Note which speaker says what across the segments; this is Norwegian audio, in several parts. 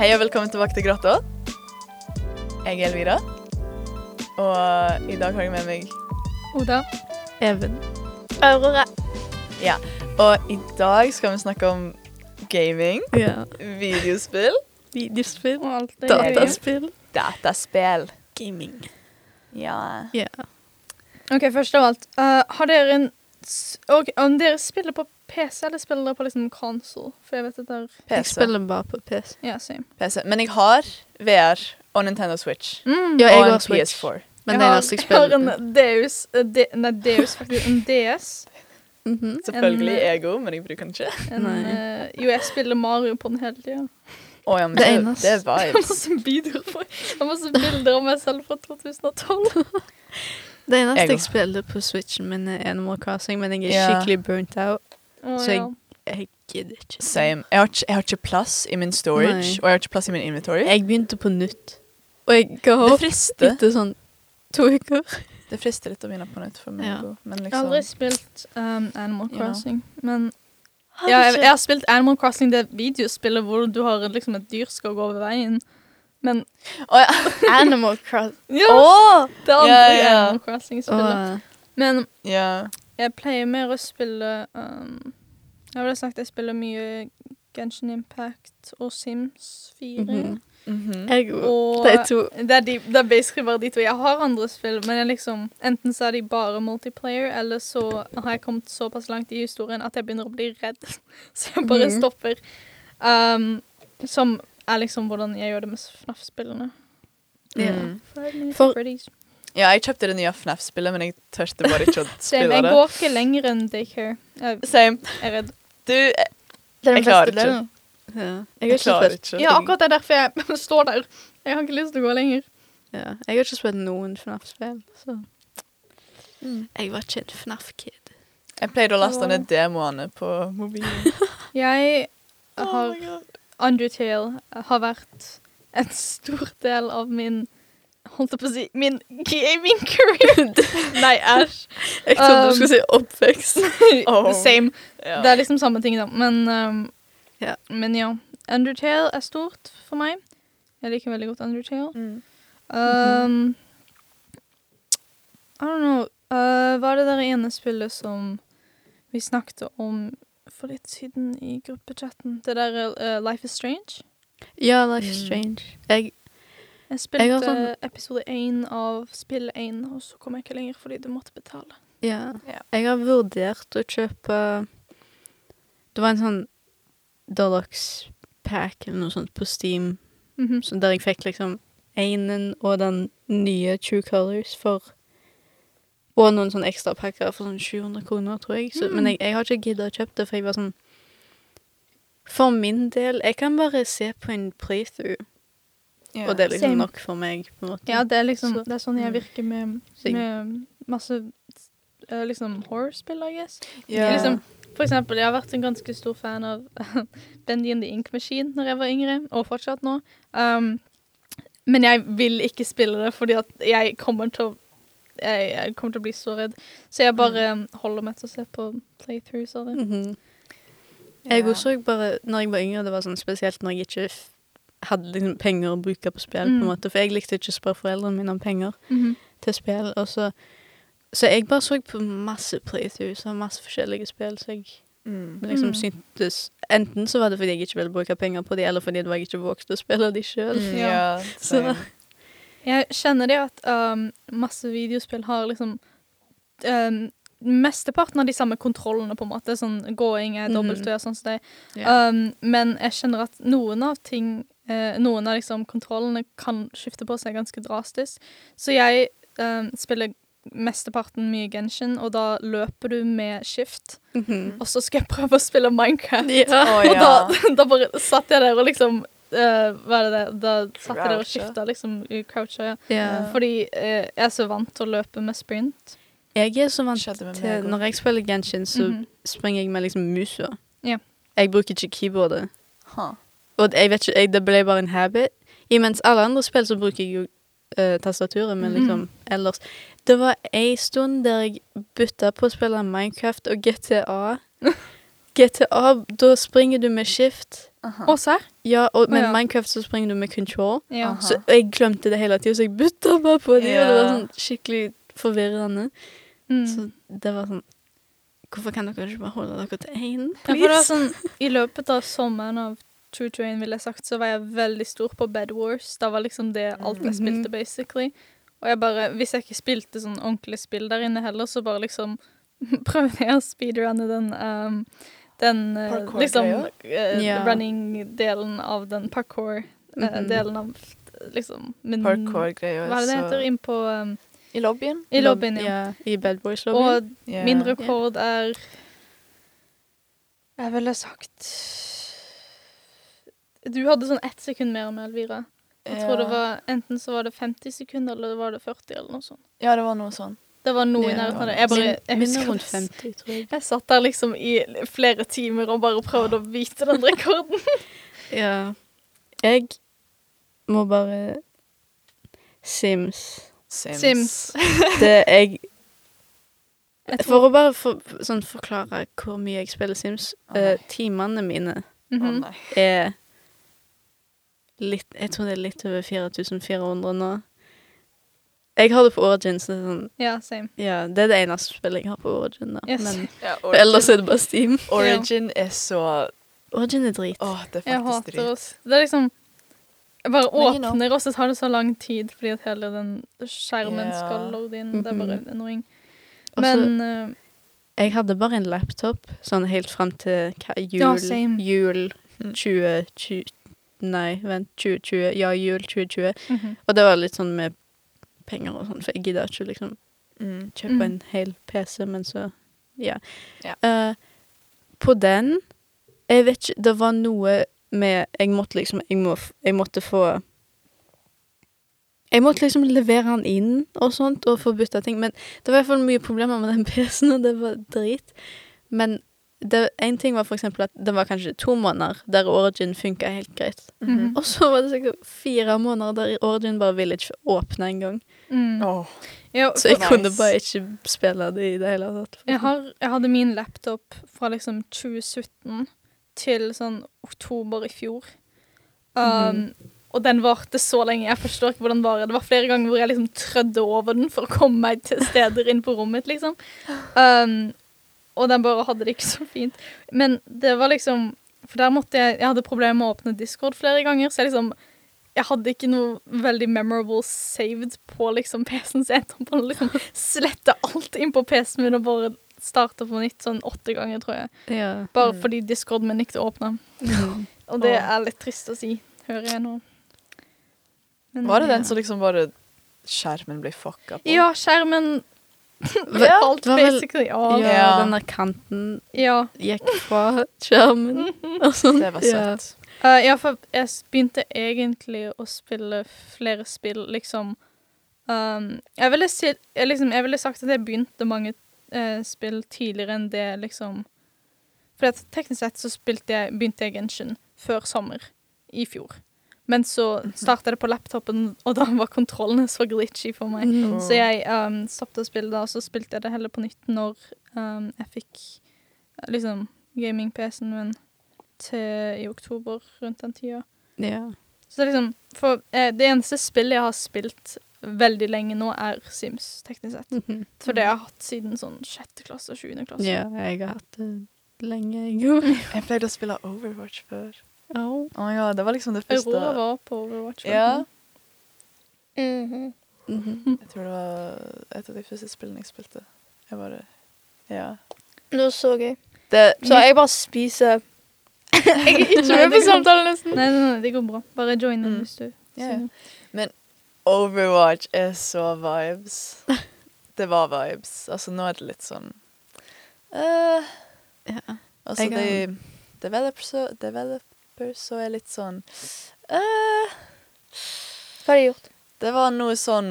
Speaker 1: Hei og velkommen tilbake til Grått Odd. Jeg er Elvira. Og i dag har jeg med meg
Speaker 2: Oda.
Speaker 3: Even.
Speaker 2: Aurora.
Speaker 1: Og i dag skal vi snakke om gaming,
Speaker 3: Ja.
Speaker 1: videospill,
Speaker 3: Videospill.
Speaker 2: Og alt det
Speaker 3: Dataspill.
Speaker 1: dataspill.
Speaker 3: Gaming.
Speaker 1: Ja.
Speaker 3: Ja.
Speaker 2: Ok, først av alt. eh, har dere en s- Ok, Om dere spiller på PC, eller spiller dere på liksom console? For jeg vet at det er
Speaker 3: Jeg
Speaker 1: PC.
Speaker 3: spiller bare på PC.
Speaker 2: Ja, same.
Speaker 1: PC. Men jeg har VR og Nintendo Switch.
Speaker 2: Mm.
Speaker 3: Ja, jeg
Speaker 1: og
Speaker 3: har
Speaker 1: en
Speaker 3: Switch.
Speaker 1: PS4.
Speaker 3: Men det er eneste jeg spiller.
Speaker 2: Jeg har en Deus eh, de, Nei, Deus, faktisk. En DS.
Speaker 3: Mhm.
Speaker 1: Selvfølgelig
Speaker 2: En-
Speaker 1: Ego, men jeg bruker den ikke.
Speaker 2: En,
Speaker 3: Nei.
Speaker 2: eh, jo, jeg spiller Mario på den hele tida.
Speaker 1: Å ja, men
Speaker 3: Det
Speaker 1: det,
Speaker 3: ene, ass.
Speaker 1: det er
Speaker 2: Jeg har
Speaker 1: vibes.
Speaker 2: masse videoer på- jeg har masse bilder av meg selv fra 2012.
Speaker 3: Det eneste
Speaker 1: Jeg
Speaker 3: jeg
Speaker 1: også.
Speaker 3: spiller på Switchen min, er Animal Crossing, men jeg er
Speaker 1: Ja.
Speaker 3: skikkelig burnt out.
Speaker 2: Å,
Speaker 3: Så jeg, jeg gidder ikke.
Speaker 1: Same. Jeg har, ikke, jeg har ikke plass i min storage,
Speaker 3: Nei.
Speaker 1: og jeg har ikke plass i min inventory.
Speaker 3: Jeg begynte på nytt. Og jeg ga
Speaker 1: Det
Speaker 3: opp
Speaker 1: frister.
Speaker 3: etter sånn to uker.
Speaker 1: Det frister litt å begynne på nytt for meg.
Speaker 3: Ja.
Speaker 1: Ego, Men
Speaker 2: Jeg har
Speaker 1: liksom
Speaker 2: aldri spilt um, Animal
Speaker 1: Ja.
Speaker 2: Crossing, men ja, jeg, jeg har spilt Animal Crossing, det videospillet hvor du har liksom et dyr skal gå over veien. Men
Speaker 1: Å, ja.
Speaker 4: Animal Cross.
Speaker 2: ja,
Speaker 4: Åh!
Speaker 2: det andre
Speaker 1: ja, ja.
Speaker 2: Animal Crossing-spillet.
Speaker 3: Og,
Speaker 2: Men
Speaker 1: ja.
Speaker 2: jeg pleier mer å spille um, Jeg har vel sagt jeg spiller mye Genshin Impact og Sims 4.
Speaker 3: Mhm.
Speaker 1: Mhm.
Speaker 2: Mm-hmm.
Speaker 3: jeg
Speaker 2: Og
Speaker 3: De to.
Speaker 2: det er, de, det er basically bare de to. Jeg har andre spill, men jeg liksom, enten så er de bare multiplayer, eller så har jeg kommet såpass langt i historien at jeg begynner å bli redd. Så jeg bare
Speaker 3: Mhm.
Speaker 2: stopper. Um, som er liksom hvordan jeg gjør det med FNAF-spillene.
Speaker 3: Ja.
Speaker 1: Mm.
Speaker 3: For-
Speaker 2: Freddy's.
Speaker 1: ja, jeg kjøpte det nye FNAF-spillet, men jeg tørte bare ikke å
Speaker 2: Same.
Speaker 1: spille
Speaker 2: Jeg
Speaker 1: det.
Speaker 2: går ikke lenger enn daycare. Jeg
Speaker 1: Same.
Speaker 2: er redd.
Speaker 1: Du, eh,
Speaker 4: Det er
Speaker 1: Jeg
Speaker 4: den
Speaker 1: klarer
Speaker 4: beste
Speaker 1: ikke.
Speaker 4: delen.
Speaker 3: Ja. Jeg har
Speaker 1: jeg
Speaker 3: ikke
Speaker 1: klarer
Speaker 3: spilt
Speaker 1: ikke.
Speaker 2: Ja, akkurat det er derfor jeg står der. Jeg har ikke lyst til å gå lenger.
Speaker 3: Ja. Jeg har ikke spilt noen FNAF-spill, så
Speaker 2: Mm.
Speaker 3: Jeg var ikke en FNAF-kid.
Speaker 1: Jeg pleide å laste ned demoene på mobilen.
Speaker 2: Jeg har
Speaker 1: Oh my God.
Speaker 2: Undertale har vært en stor del av min Holdt jeg på å si min gaming career. Nei, æsj.
Speaker 3: Jeg
Speaker 2: trodde du skulle
Speaker 3: si oppvekst.
Speaker 1: Oh.
Speaker 2: Same.
Speaker 1: Ja.
Speaker 2: Det er liksom samme ting, da. Men, um,
Speaker 3: Ja.
Speaker 2: men ja. Undertale er stort for meg. Jeg liker veldig godt Undertale.
Speaker 1: Mm.
Speaker 2: Um, I don't know. Uh, hva er det der ene spillet som vi snakket om for litt siden i gruppechatten? Det der uh, Life is Strange?
Speaker 3: Ja, Life is
Speaker 1: Mm.
Speaker 3: Strange. Jeg,
Speaker 2: Jeg spilte
Speaker 3: Jeg har sånn-
Speaker 2: episode 1 av spill 1, og så kom jeg ikke lenger fordi du måtte betale.
Speaker 3: ja.
Speaker 1: Ja.
Speaker 3: jeg har vurdert å kjøpe Det var en sånn Dollox pack eller noe sånt på Steam,
Speaker 2: Mhm.
Speaker 3: så der jeg fikk liksom Einen og den nye True Colors for Og noen sånne ekstrapakker for sånn 700 kroner, tror jeg. Så,
Speaker 2: Mm.
Speaker 3: Men jeg, jeg har ikke giddet å kjøpe det, for jeg var sånn For min del Jeg kan bare se på en playthrough,
Speaker 1: Ja.
Speaker 3: og det er liksom
Speaker 2: Same.
Speaker 3: nok for meg, på en måte.
Speaker 2: Ja, det er liksom
Speaker 3: Så-
Speaker 2: det er sånn jeg virker med,
Speaker 3: Så-
Speaker 2: med masse eh, liksom horrorspill, I guess.
Speaker 1: Ja.
Speaker 2: Liksom, for eksempel, jeg har vært en ganske stor fan av Bendy and the Ink Machine når jeg var yngre, og fortsatt nå. Um, men jeg vil ikke spille det, fordi at jeg kommer til å jeg, jeg kommer til å bli så redd. Så jeg bare um, holder meg til å se på playthroughs av det.
Speaker 3: Mhm. Jeg
Speaker 1: Ja.
Speaker 3: også jeg bare, når jeg var yngre, det var sånn spesielt når jeg ikke f- hadde liksom penger å bruke på spill, på en
Speaker 2: Mm.
Speaker 3: måte. For jeg likte ikke å spørre foreldrene mine om penger
Speaker 2: Mhm.
Speaker 3: til spill, og så Så jeg bare så på masse playthroughs og masse forskjellige spill, så jeg
Speaker 1: Mm.
Speaker 3: liksom
Speaker 2: Mm.
Speaker 3: syntes Enten så var det fordi jeg ikke ville bruke penger på de, eller fordi det var jeg ikke vågte å spille de sjøl.
Speaker 1: Mm,
Speaker 2: Ja.
Speaker 1: ja, same.
Speaker 2: Jeg kjenner det at um, masse videospill har liksom um, Mesteparten av de samme kontrollene, på en måte. Sånn gåing er dobbelt
Speaker 3: Mhm.
Speaker 2: og sånn som det.
Speaker 3: Ja.
Speaker 2: Um, men jeg kjenner at noen av ting eh, Noen av liksom kontrollene kan skifte på seg ganske drastisk. Så jeg um, spiller mesteparten mye Genshin, og da løper du med skift.
Speaker 3: Mhm.
Speaker 2: Og så skal jeg prøve å spille Minecraft.
Speaker 3: Ja.
Speaker 1: Å
Speaker 2: Og
Speaker 1: ja.
Speaker 2: da, da bare satt jeg der og liksom eh, Hva er det det? Da satt jeg der og
Speaker 1: Croucha.
Speaker 2: skifta, liksom. i Croucha, ja.
Speaker 3: ja.
Speaker 2: Fordi eh, jeg er så vant til å løpe med sprint.
Speaker 3: Jeg er så vant
Speaker 1: Skjedde med meg
Speaker 3: til
Speaker 1: òg.
Speaker 3: Når jeg spiller Genshin, så
Speaker 2: Mhm.
Speaker 3: springer jeg med liksom musa.
Speaker 2: Ja.
Speaker 3: Jeg bruker ikke keyboardet.
Speaker 1: Huh.
Speaker 3: Og jeg vet ikke, jeg, det ble bare en habit. Imens alle andre spill så bruker jeg jo eh, tastaturet, men
Speaker 2: Mhm.
Speaker 3: liksom ellers Det var ei stund der jeg bytta på å spille Minecraft og GTA. GTA, da springer du med skift.
Speaker 2: Å, serr?
Speaker 3: Ja, og, men
Speaker 2: Å, ja.
Speaker 3: Minecraft så springer du med control.
Speaker 2: Ja.
Speaker 1: Aha.
Speaker 3: Så og jeg glemte det hele tida, så jeg bytta bare på det. Og det var
Speaker 1: Ja.
Speaker 3: sånn skikkelig forvirrende.
Speaker 2: Mm.
Speaker 3: Så det var sånn Hvorfor kan dere ikke bare holde dere til én,
Speaker 2: Ja, for det var
Speaker 3: please?
Speaker 2: sånn, I løpet av sommeren av True Train vil jeg sagt, så var jeg veldig stor på Bed Wars. Da var liksom det alt jeg
Speaker 3: Mhm.
Speaker 2: spilte, basically. Og jeg bare, hvis jeg ikke spilte sånn ordentlig spill der inne heller, så bare liksom prøvde jeg å speedrunne den um, den eh,
Speaker 1: Parkour-greia?
Speaker 2: liksom eh,
Speaker 3: Ja.
Speaker 2: running-delen av den
Speaker 3: Mhm.
Speaker 2: parkour-delen av liksom min,
Speaker 1: Parkour-greier.
Speaker 2: Hva er det det
Speaker 1: så-
Speaker 2: heter? Inn på um,
Speaker 1: I lobbyen?
Speaker 2: I lobbyen, ja.
Speaker 3: ja. I Bad Boys-lobbyen.
Speaker 2: Og
Speaker 1: Ja.
Speaker 2: min rekord er Jeg ville sagt Du hadde sånn ett sekund mer enn meg, Elvira. Jeg tror det var Enten så var det 50 sekunder, eller var det 40, eller noe sånt.
Speaker 1: Ja, det var noe sånn.
Speaker 2: Det var noe i
Speaker 3: Ja.
Speaker 2: nærheten av det. Jeg bare jeg
Speaker 3: Min er
Speaker 2: husker
Speaker 3: rundt
Speaker 2: det.
Speaker 3: 50, tror jeg.
Speaker 2: Jeg satt der liksom i flere timer og bare prøvde å bite den rekorden.
Speaker 3: Ja. Jeg må bare Sims.
Speaker 1: Sims.
Speaker 2: Sims.
Speaker 3: Det jeg
Speaker 2: Jeg tror-
Speaker 3: For å bare for, sånn forklare hvor mye jeg spiller Sims
Speaker 1: Å,
Speaker 3: eh,
Speaker 1: nei.
Speaker 3: Timene mine
Speaker 1: Å
Speaker 2: Mhm.
Speaker 1: nei.
Speaker 3: er litt Jeg tror det er litt over 4400 nå. Jeg har det på Origin, så det er sånn
Speaker 2: Ja, same.
Speaker 3: Ja, det er det eneste spillet jeg har på Origin, da.
Speaker 2: Yes.
Speaker 3: Men
Speaker 1: Ja,
Speaker 3: for ellers er det bare Steam.
Speaker 1: Origin er så
Speaker 3: Origin er drit.
Speaker 1: Åh, det er
Speaker 2: Jeg
Speaker 1: faktisk
Speaker 2: hater
Speaker 1: dritt.
Speaker 2: oss. Det er liksom Jeg bare
Speaker 1: Men you know.
Speaker 2: åpner, og så tar det så lang tid fordi at hele den skjermen
Speaker 1: Ja.
Speaker 2: skal loade inn. Det er bare annoying.
Speaker 3: Og så-
Speaker 2: Men eh,
Speaker 3: Jeg hadde bare en laptop sånn helt fram til hva, jul,
Speaker 2: Ja, same.
Speaker 3: jul
Speaker 1: Mm.
Speaker 3: 2020 Nei, vent, 2020. Ja, jul 2020.
Speaker 2: mhm.
Speaker 3: Og det var litt sånn med penger og sånn, for jeg gidder ikke liksom
Speaker 1: Mm.
Speaker 3: kjøpe
Speaker 2: Mm.
Speaker 3: en hel PC, men så Ja.
Speaker 1: Ja.
Speaker 3: Eh, på den Jeg vet ikke Det var noe med Jeg måtte liksom Jeg, må, f- jeg måtte få jeg måtte liksom levere han inn og sånt, og få bytta ting. Men det var i hvert fall mye problemer med den PC-en, og det var drit. Men én ting var for eksempel at det var kanskje to måneder der Origin funka helt greit.
Speaker 1: Mhm.
Speaker 3: Og så var det sikkert fire måneder der Origin bare ville ikke åpne engang.
Speaker 2: Mm.
Speaker 1: Åh.
Speaker 2: Ja,
Speaker 3: Så jeg
Speaker 1: Nice.
Speaker 3: kunne bare ikke spille det i det hele tatt.
Speaker 2: jeg, har, jeg hadde min laptop fra liksom 2017 til sånn oktober i fjor. Um, Og den varte så lenge. Jeg forstår ikke hvordan den varer. Det var flere ganger hvor jeg liksom trødde over den for å komme meg til steder inn på rommet, liksom. Um, og den bare hadde det ikke så fint. Men det var liksom For der måtte jeg Jeg hadde problemer med å åpne Discord flere ganger, så jeg liksom jeg hadde ikke noe veldig memorable saved på liksom PC-en, så jeg endte opp med å liksom slette alt inn på PC-en min og bare starte på nytt sånn åtte ganger, tror jeg.
Speaker 3: Ja.
Speaker 2: Bare
Speaker 1: Mm.
Speaker 2: fordi Discord min ikke åpna.
Speaker 3: Mm.
Speaker 2: Og det
Speaker 1: Åh.
Speaker 2: er litt trist å si, hører jeg nå. Men-
Speaker 1: Var det
Speaker 3: Ja.
Speaker 1: den som liksom bare Skjermen ble fucka på?
Speaker 2: Ja, skjermen
Speaker 3: Ja,
Speaker 2: falt
Speaker 3: det
Speaker 2: Sånn
Speaker 3: var vel-
Speaker 2: basically
Speaker 3: Ja,
Speaker 2: av. Ja.
Speaker 1: Ja.
Speaker 3: den der kanten gikk fra skjermen og sånn.
Speaker 1: Det var søtt.
Speaker 2: Eh, ja, for jeg s- begynte egentlig å spille flere spill, liksom um, jeg, ville si, jeg, liksom jeg ville sagt at jeg begynte mange eh, spill tidligere enn det, liksom For at teknisk sett så spilte jeg, begynte jeg Genshin før sommer i fjor. Men så starta det på laptopen, og da var kontrollene så glitchy for meg.
Speaker 3: Mm.
Speaker 2: Så jeg um, stoppet å spille da, og så spilte jeg det heller på nytt når um, jeg fikk eh, liksom gaming-PC-en min til i oktober rundt den tida.
Speaker 3: Ja.
Speaker 2: Så det er liksom For eh, det eneste spillet jeg har spilt veldig lenge nå, er Sims, teknisk sett.
Speaker 3: Mhm.
Speaker 2: For det har jeg hatt siden sånn sjette klasse og sjuende klasse.
Speaker 3: ja, jeg har hatt det lenge, jeg òg.
Speaker 1: Jeg pleide å spille Overwatch før.
Speaker 3: Au.
Speaker 1: Oh my God, det var liksom det første
Speaker 2: Aurora var på Overwatch.
Speaker 1: Ja.
Speaker 4: Mm-hmm.
Speaker 3: Mhm.
Speaker 1: Jeg tror det var et av de første spillene jeg spilte. Jeg bare Ja.
Speaker 4: Det var så gøy. så jeg bare spiser Jeg er ikke med på samtalen nesten.
Speaker 2: Nei, nei, nei, det går bra. Bare join
Speaker 1: Mm.
Speaker 2: den hvis du
Speaker 1: Ja,
Speaker 2: sier
Speaker 1: ja.
Speaker 2: noe.
Speaker 1: Overwatch er så vibes. Det var vibes. Altså, nå er det litt sånn eh,
Speaker 3: Ja.
Speaker 1: Altså,
Speaker 3: Jeg har-
Speaker 1: de developers, developers så er litt sånn eh,
Speaker 4: Hva har de gjort?
Speaker 1: Det var noe sånn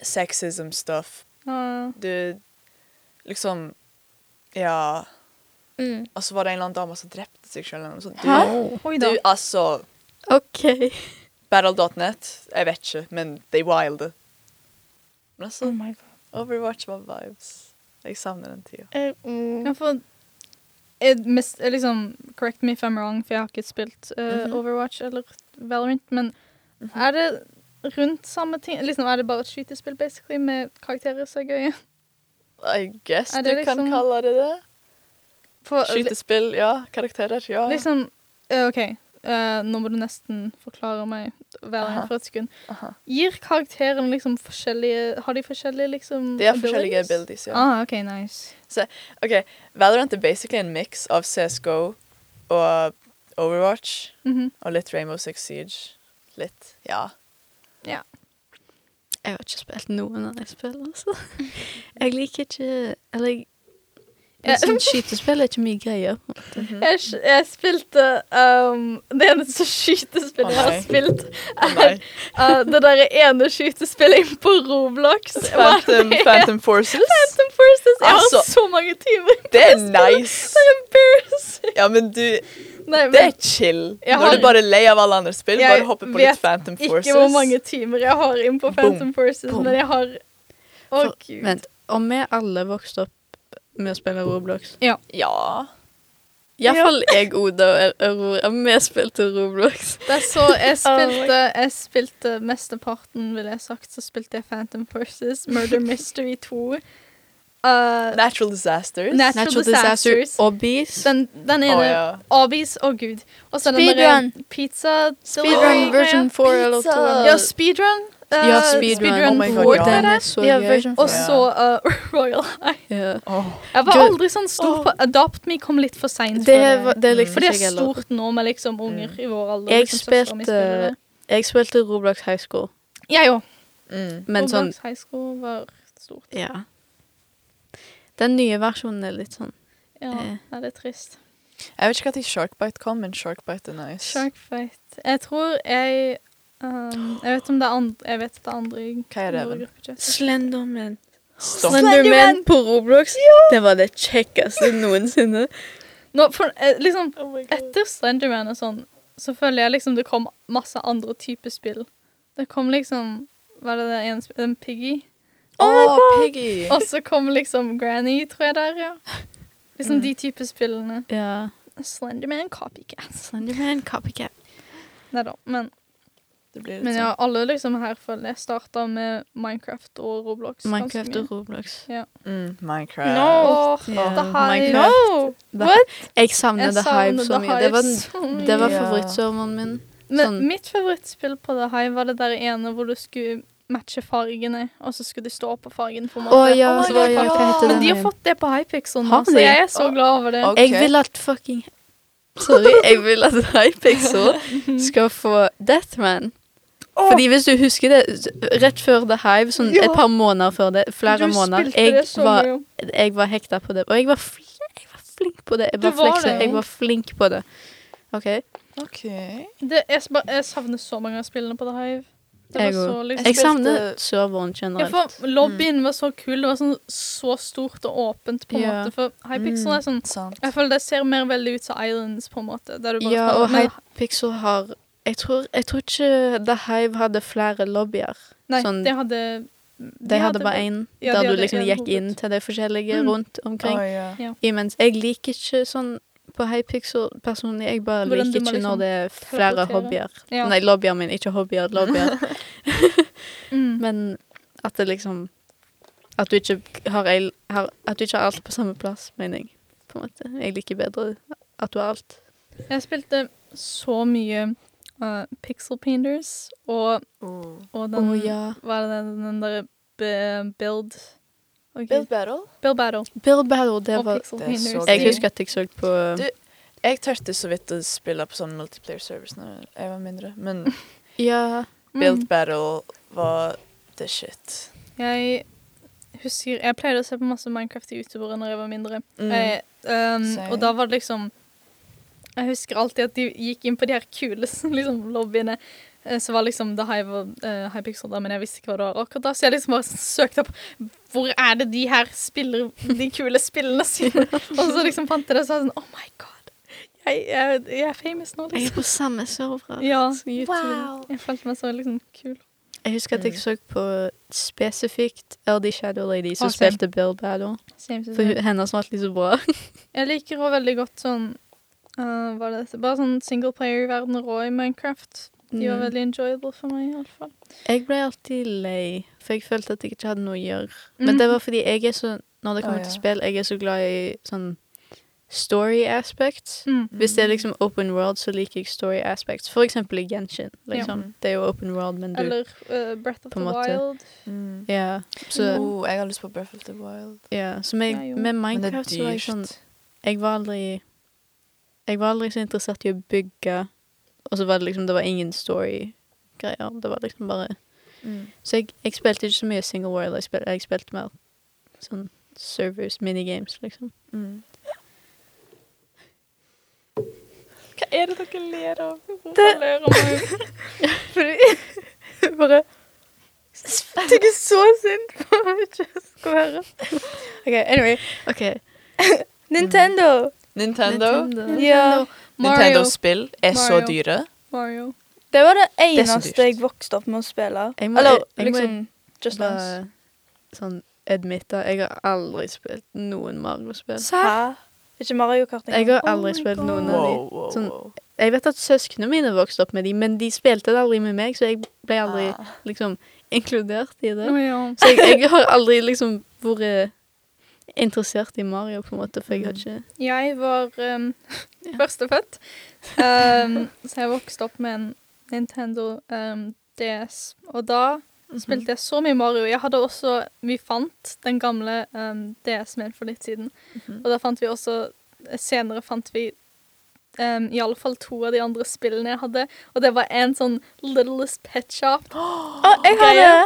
Speaker 1: sexism stuff.
Speaker 2: Ah,
Speaker 1: Du liksom Ja. Altså, var det en eller annen dame som drepte seg sjøl eller noe sånt? Du,
Speaker 3: Au.
Speaker 2: Oi da.
Speaker 1: du, altså
Speaker 3: OK.
Speaker 1: Battle.net, jeg vet ikke, men de wilde. Men altså,
Speaker 2: Oh my God.
Speaker 1: Overwatch var vibes. Jeg savner den tida.
Speaker 4: Eh, Mm.
Speaker 2: Ja, for eh, mis, eh, liksom, Correct me if I'm wrong, for jeg har ikke spilt eh,
Speaker 1: Mhm.
Speaker 2: Overwatch eller Valorant, men er det rundt samme ting? Liksom, er det bare et skytespill, basically, med karakterer som er gøye?
Speaker 1: I guess
Speaker 2: Er
Speaker 1: du
Speaker 2: det
Speaker 1: kan
Speaker 2: liksom-
Speaker 1: kalle det det.
Speaker 2: For,
Speaker 1: Skytespill, ja. Karakterer, ja.
Speaker 2: liksom, eh, OK, eh, nå må du nesten forklare meg Valorant
Speaker 1: Aha.
Speaker 2: for et sekund.
Speaker 1: Aha.
Speaker 2: Gir karakterene liksom forskjellige Har de forskjellige liksom
Speaker 1: De har forskjellige
Speaker 2: abilities?
Speaker 1: abilities, ja.
Speaker 2: Ah, OK, nice.
Speaker 1: Ok, Valorant er basically en mix av CSGO og Overwatch.
Speaker 2: Mhm.
Speaker 1: Og litt Rainbow Six Siege. Litt, ja.
Speaker 3: Jeg har ikke spilt noen av de spillene, altså. Jeg liker ikke Eller jeg-
Speaker 2: Ja.
Speaker 3: sånn Skytespill er ikke mye greier.
Speaker 1: Mm.
Speaker 2: Jeg, sk- jeg spilte um, Det eneste skytespillet jeg
Speaker 1: Å,
Speaker 2: har
Speaker 1: nei.
Speaker 2: spilt,
Speaker 1: Å nei.
Speaker 2: Uh, det der ene skytespillet inn på Roblox. Hva er
Speaker 1: Phantom,
Speaker 2: det?
Speaker 1: Phantom Forces.
Speaker 2: Phantom Forces. Jeg
Speaker 1: Altså-
Speaker 2: har så mange timer.
Speaker 1: Det er nice.
Speaker 2: Embarrassing.
Speaker 1: Ja, men du,
Speaker 2: Nei,
Speaker 1: det er
Speaker 2: men
Speaker 1: chill.
Speaker 2: Jeg
Speaker 1: Når
Speaker 2: har-
Speaker 1: du bare er lei av alle andre spill,
Speaker 2: Jeg
Speaker 1: bare hoppe på
Speaker 2: vet
Speaker 1: litt Phantom Forces.
Speaker 2: ikke hvor mange timer jeg har inn på Phantom Forces,
Speaker 3: Boom.
Speaker 2: men jeg har Å,
Speaker 3: For-
Speaker 2: gud.
Speaker 3: Vent, om vi alle vokste opp med å spille Roblox
Speaker 1: Ja.
Speaker 3: Iallfall jeg, Oda og Aurora. Vi spilte Roblox.
Speaker 2: Det er så jeg spilte, jeg spilte mesteparten, vil jeg sagt, så spilte jeg Phantom Forces, Murder Mystery 2. Uh,
Speaker 1: Natural Disasters.
Speaker 2: Nat- Natural disasters.
Speaker 3: Obbies.
Speaker 2: den, den
Speaker 1: Å,
Speaker 2: ene
Speaker 1: ja.
Speaker 2: Abis, å gud. Og så den der
Speaker 4: Speedrun.
Speaker 2: pizza
Speaker 4: Speedrun version 4 eller 2. eller-
Speaker 2: Ja, speedrun. Eh,
Speaker 3: Ja, speedrun.
Speaker 1: Oh my god,
Speaker 2: Ford
Speaker 1: ja.
Speaker 2: var
Speaker 3: Den
Speaker 2: det.
Speaker 3: er så
Speaker 4: De har
Speaker 3: gøy.
Speaker 4: version 4.
Speaker 2: Og så eh, Royal High.
Speaker 3: Ja.
Speaker 1: Åh.
Speaker 2: Jeg var
Speaker 3: Du-
Speaker 2: aldri sånn stor på Adopt Me kom litt for seint.
Speaker 3: Det, var- det
Speaker 2: For
Speaker 3: likte
Speaker 2: det
Speaker 3: ikke
Speaker 2: er
Speaker 3: jeg heller.
Speaker 2: stort nå med liksom unger i vår alder.
Speaker 3: Mm. Jeg
Speaker 2: liksom, søsteren min
Speaker 3: spilte-
Speaker 2: spiller det.
Speaker 3: Jeg spilte Roblox High School,
Speaker 2: Jeg òg.
Speaker 1: Mm.
Speaker 3: men sånn
Speaker 2: Roblox High School var stort.
Speaker 3: Ja. Den nye versjonen er litt sånn
Speaker 2: Ja,
Speaker 3: Eh.
Speaker 2: nei, det er trist.
Speaker 1: Jeg vet ikke når Sharkbite kom, men Sharkbite er nice.
Speaker 2: Sharkfight. Jeg tror jeg um, Jeg vet om det er andre Jeg vet at det er andre i
Speaker 1: Hva er det, Even?
Speaker 2: vår gruppe.
Speaker 3: Slenderman.
Speaker 1: Stopp.
Speaker 3: Slenderman på Roblox. Det var det kjekkeste noensinne.
Speaker 2: Nå, for, eh, liksom,
Speaker 4: Oh
Speaker 2: etter Slenderman og sånn, så føler jeg liksom det kom masse andre typer spill. Det kom liksom Var det det ene spillet? En Piggy? Oh
Speaker 1: Åh, Piggy!
Speaker 2: Og så kom liksom Granny, tror jeg, der, ja. Liksom
Speaker 1: Mm.
Speaker 2: de typer spillene.
Speaker 3: Ja.
Speaker 2: Slenderman, Copycat.
Speaker 3: Slenderman copycat.
Speaker 2: Nei da. Men,
Speaker 1: Det blir litt
Speaker 2: men
Speaker 1: sånn.
Speaker 2: ja, alle liksom her føler jeg starta med Minecraft og Roblox.
Speaker 3: Minecraft og Roblox.
Speaker 1: Mm, Minecraft.
Speaker 2: No!
Speaker 3: Ja.
Speaker 2: The Hive.
Speaker 1: Minecraft.
Speaker 3: What? Jeg savner
Speaker 2: Jeg
Speaker 3: The
Speaker 2: savner
Speaker 3: Hive så mye. Det var, den-
Speaker 2: så mye.
Speaker 3: det var
Speaker 1: Ja.
Speaker 3: favorittserveren min.
Speaker 2: Men
Speaker 3: sånn-
Speaker 2: mitt favorittspill på The Hive var det der ene hvor du skulle matche fargene, og så skulle du stå på fargen, på en måte.
Speaker 3: Å ja,
Speaker 1: Oh my
Speaker 3: hva
Speaker 1: God.
Speaker 3: heter
Speaker 2: Men
Speaker 3: den
Speaker 2: de har
Speaker 3: igjen?
Speaker 2: fått det på Hypixel nå,
Speaker 3: Har
Speaker 2: så
Speaker 3: de?
Speaker 2: jeg er så glad over det.
Speaker 1: Ok.
Speaker 3: Jeg vil at fucking Sorry, jeg vil at Hypixel skal få Deathman. Fordi hvis du husker det, s- rett før The Hive, sånn
Speaker 2: Ja.
Speaker 3: et par måneder før det, flere
Speaker 2: du
Speaker 3: måneder
Speaker 2: spilte
Speaker 3: jeg
Speaker 2: det så
Speaker 3: var,
Speaker 2: mye.
Speaker 3: jeg var hekta på det, og jeg var, fl jeg var flink på det. Jeg var,
Speaker 2: Du var
Speaker 3: flekse,
Speaker 2: det.
Speaker 3: jeg var flink på det. OK?
Speaker 1: Ok.
Speaker 2: Det, jeg, s- bare- jeg savner så mange av spillene på The Hive. Det var
Speaker 3: Jeg
Speaker 2: så
Speaker 3: òg.
Speaker 2: liksom
Speaker 3: Jeg
Speaker 1: spilte-
Speaker 3: savner serveren
Speaker 2: ja,
Speaker 3: generelt.
Speaker 2: for Lobbyen var så kul. Det var sånn så stort og åpent, på en
Speaker 3: Ja.
Speaker 2: måte. For Hypixel
Speaker 1: Mm.
Speaker 2: er sånn
Speaker 1: Sant.
Speaker 2: Jeg føler det ser mer veldig ut som Islands, på en måte. Der du bare
Speaker 3: Ja,
Speaker 2: kan-
Speaker 3: og
Speaker 2: men-
Speaker 3: Hypixel har jeg tror, jeg tror ikke The Hive hadde flere lobbyer.
Speaker 2: Nei,
Speaker 3: sånn-
Speaker 2: de hadde De,
Speaker 3: De hadde bare én,
Speaker 2: ja, de
Speaker 3: der du
Speaker 2: hadde
Speaker 3: liksom
Speaker 2: en
Speaker 3: gikk
Speaker 2: hoved.
Speaker 3: inn til de forskjellige
Speaker 2: Mm.
Speaker 3: rundt omkring.
Speaker 1: Å, ja.
Speaker 3: Imens jeg liker ikke sånn på Hypixel personlig. Jeg bare
Speaker 2: Hvordan du
Speaker 3: liker
Speaker 2: må
Speaker 3: ikke
Speaker 2: liksom
Speaker 3: når det er flere
Speaker 2: teleportere.
Speaker 3: hobbyer.
Speaker 2: Ja.
Speaker 3: Nei, lobbyer, men ikke hobbyer. Lobbyer.
Speaker 2: Mm.
Speaker 3: men at det liksom At du ikke har, ei- har, at du ikke har alt på samme plass, mener jeg. På en måte. Jeg liker bedre at du har alt.
Speaker 2: Jeg spilte så mye eh, Pixel Painters og,
Speaker 1: Oh.
Speaker 2: og
Speaker 3: Å
Speaker 2: den
Speaker 3: ja.
Speaker 2: Hva er det den, den derre b- Build okay.
Speaker 1: Build
Speaker 2: build.
Speaker 1: Battle?
Speaker 2: Battle
Speaker 3: Bill Battle, det
Speaker 2: og
Speaker 3: var
Speaker 2: Pixel
Speaker 1: det er så gøy.
Speaker 2: Painters.
Speaker 3: Jeg husker at jeg så på
Speaker 1: Du- Jeg tørte så vidt å spille på sånn multiplayer service når jeg var mindre, men
Speaker 3: Ja.
Speaker 2: Mm.
Speaker 1: Build Battle var the shit.
Speaker 2: Jeg husker Jeg pleide å se på masse Minecraft-youtubere når jeg var mindre.
Speaker 1: Mm.
Speaker 2: Jeg, um,
Speaker 1: Same.
Speaker 2: og da var det liksom Jeg husker alltid at de gikk inn på de her kule liksom, lobbyene. Eh, Så var liksom The Hive og eh, Hypixel der, men jeg visste ikke hva det var akkurat da. Så jeg liksom bare søkte opp hvor er det de her spiller de kule spillene sine. og så liksom fant jeg det, og så var jeg sånn Oh my god, jeg, jeg, jeg er famous nå,
Speaker 3: Jeg er
Speaker 2: liksom.
Speaker 3: på samme server.
Speaker 2: Ja.
Speaker 3: som YouTube.
Speaker 2: Jeg følte meg så liksom kul.
Speaker 3: Jeg husker at jeg
Speaker 1: Mm.
Speaker 3: så på spesifikt Eldy Shadow Lady, som
Speaker 2: Å, same.
Speaker 3: spilte Bill Battle.
Speaker 2: Same, same,
Speaker 3: For
Speaker 2: same.
Speaker 3: hun- hennes var alltid så bra.
Speaker 2: Jeg liker òg veldig godt sånn eh, hva er det, Bare sånn singleplayer-verdener òg i Minecraft. De var
Speaker 3: Mm.
Speaker 2: veldig enjoyable for meg, iallfall.
Speaker 3: Jeg ble alltid lei, for jeg følte at jeg ikke hadde noe å gjøre.
Speaker 2: Mhm.
Speaker 3: Men det var fordi jeg er så Når det
Speaker 1: Å,
Speaker 3: kommer
Speaker 1: ja.
Speaker 3: til spill, jeg er så glad i sånn story aspects.
Speaker 2: mm.
Speaker 3: Hvis det er liksom open world, så liker jeg story aspects. For eksempel i Genshin. Liksom.
Speaker 1: Ja.
Speaker 3: Det er jo open world, men du
Speaker 2: Eller eh, Breath of the
Speaker 3: på en måte.
Speaker 2: Wild.
Speaker 1: Mm.
Speaker 3: Ja. Så,
Speaker 1: oh, jeg har lyst på Breath of the Wild.
Speaker 3: ja. så med,
Speaker 2: Ja, jo.
Speaker 3: med
Speaker 1: Men det er
Speaker 3: Minecraft så var jeg
Speaker 1: dyrt.
Speaker 3: sånn Jeg var aldri Jeg var aldri så interessert i å bygge, og så var det liksom Det var ingen story-greier. Det var liksom bare
Speaker 1: Mm.
Speaker 3: Så jeg, jeg spilte ikke så mye single world. Jeg spilte, jeg spilte mer sånn servers, minigames, liksom.
Speaker 1: Mm.
Speaker 2: Hva er det dere ler av?
Speaker 4: Det-
Speaker 2: Det...
Speaker 4: Fordi Bare Jeg er så sint på at jeg ikke skal høre. OK, anyway.
Speaker 3: OK.
Speaker 4: Nintendo.
Speaker 1: Nintendo.
Speaker 3: Mm.
Speaker 4: Ja,
Speaker 2: Mario.
Speaker 1: Nintendo-spill er så
Speaker 2: Mario.
Speaker 1: dyre.
Speaker 2: Mario.
Speaker 4: det var det
Speaker 1: er så
Speaker 4: eneste
Speaker 1: dyrt.
Speaker 4: jeg vokste opp med å spille.
Speaker 3: Jeg må-
Speaker 4: Eller
Speaker 3: jeg må-
Speaker 4: liksom Just Dance.
Speaker 3: Bare sånn admitte Jeg har aldri spilt noen Mario-spill.
Speaker 4: Hæ? Ikke Mario Kart
Speaker 3: Jeg
Speaker 4: engang?
Speaker 3: har
Speaker 2: my
Speaker 3: aldri spilt
Speaker 2: God.
Speaker 3: noen av de.
Speaker 1: Wow, wow,
Speaker 3: Sånn,
Speaker 1: wow.
Speaker 3: Jeg vet at søsknene mine vokste opp med de, men de spilte det aldri med meg, så jeg ble aldri
Speaker 1: Ah.
Speaker 3: liksom inkludert i det.
Speaker 2: Å, ja.
Speaker 3: Så jeg, jeg har aldri liksom vært interessert i Mario, på en måte, for jeg har ikke
Speaker 2: Mm. Jeg var um, førstefødt, um, så jeg vokste opp med en Nintendo um, DS. Og da
Speaker 3: Mhm.
Speaker 2: spilte jeg så mye Mario. Jeg hadde også, Vi fant den gamle um, DS-en min for litt siden.
Speaker 1: Mhm.
Speaker 2: Og da fant vi også Senere fant vi um, iallfall to av de andre spillene jeg hadde. Og det var en sånn Littlest Pet Shop.
Speaker 4: Å, jeg har det!
Speaker 2: Greie.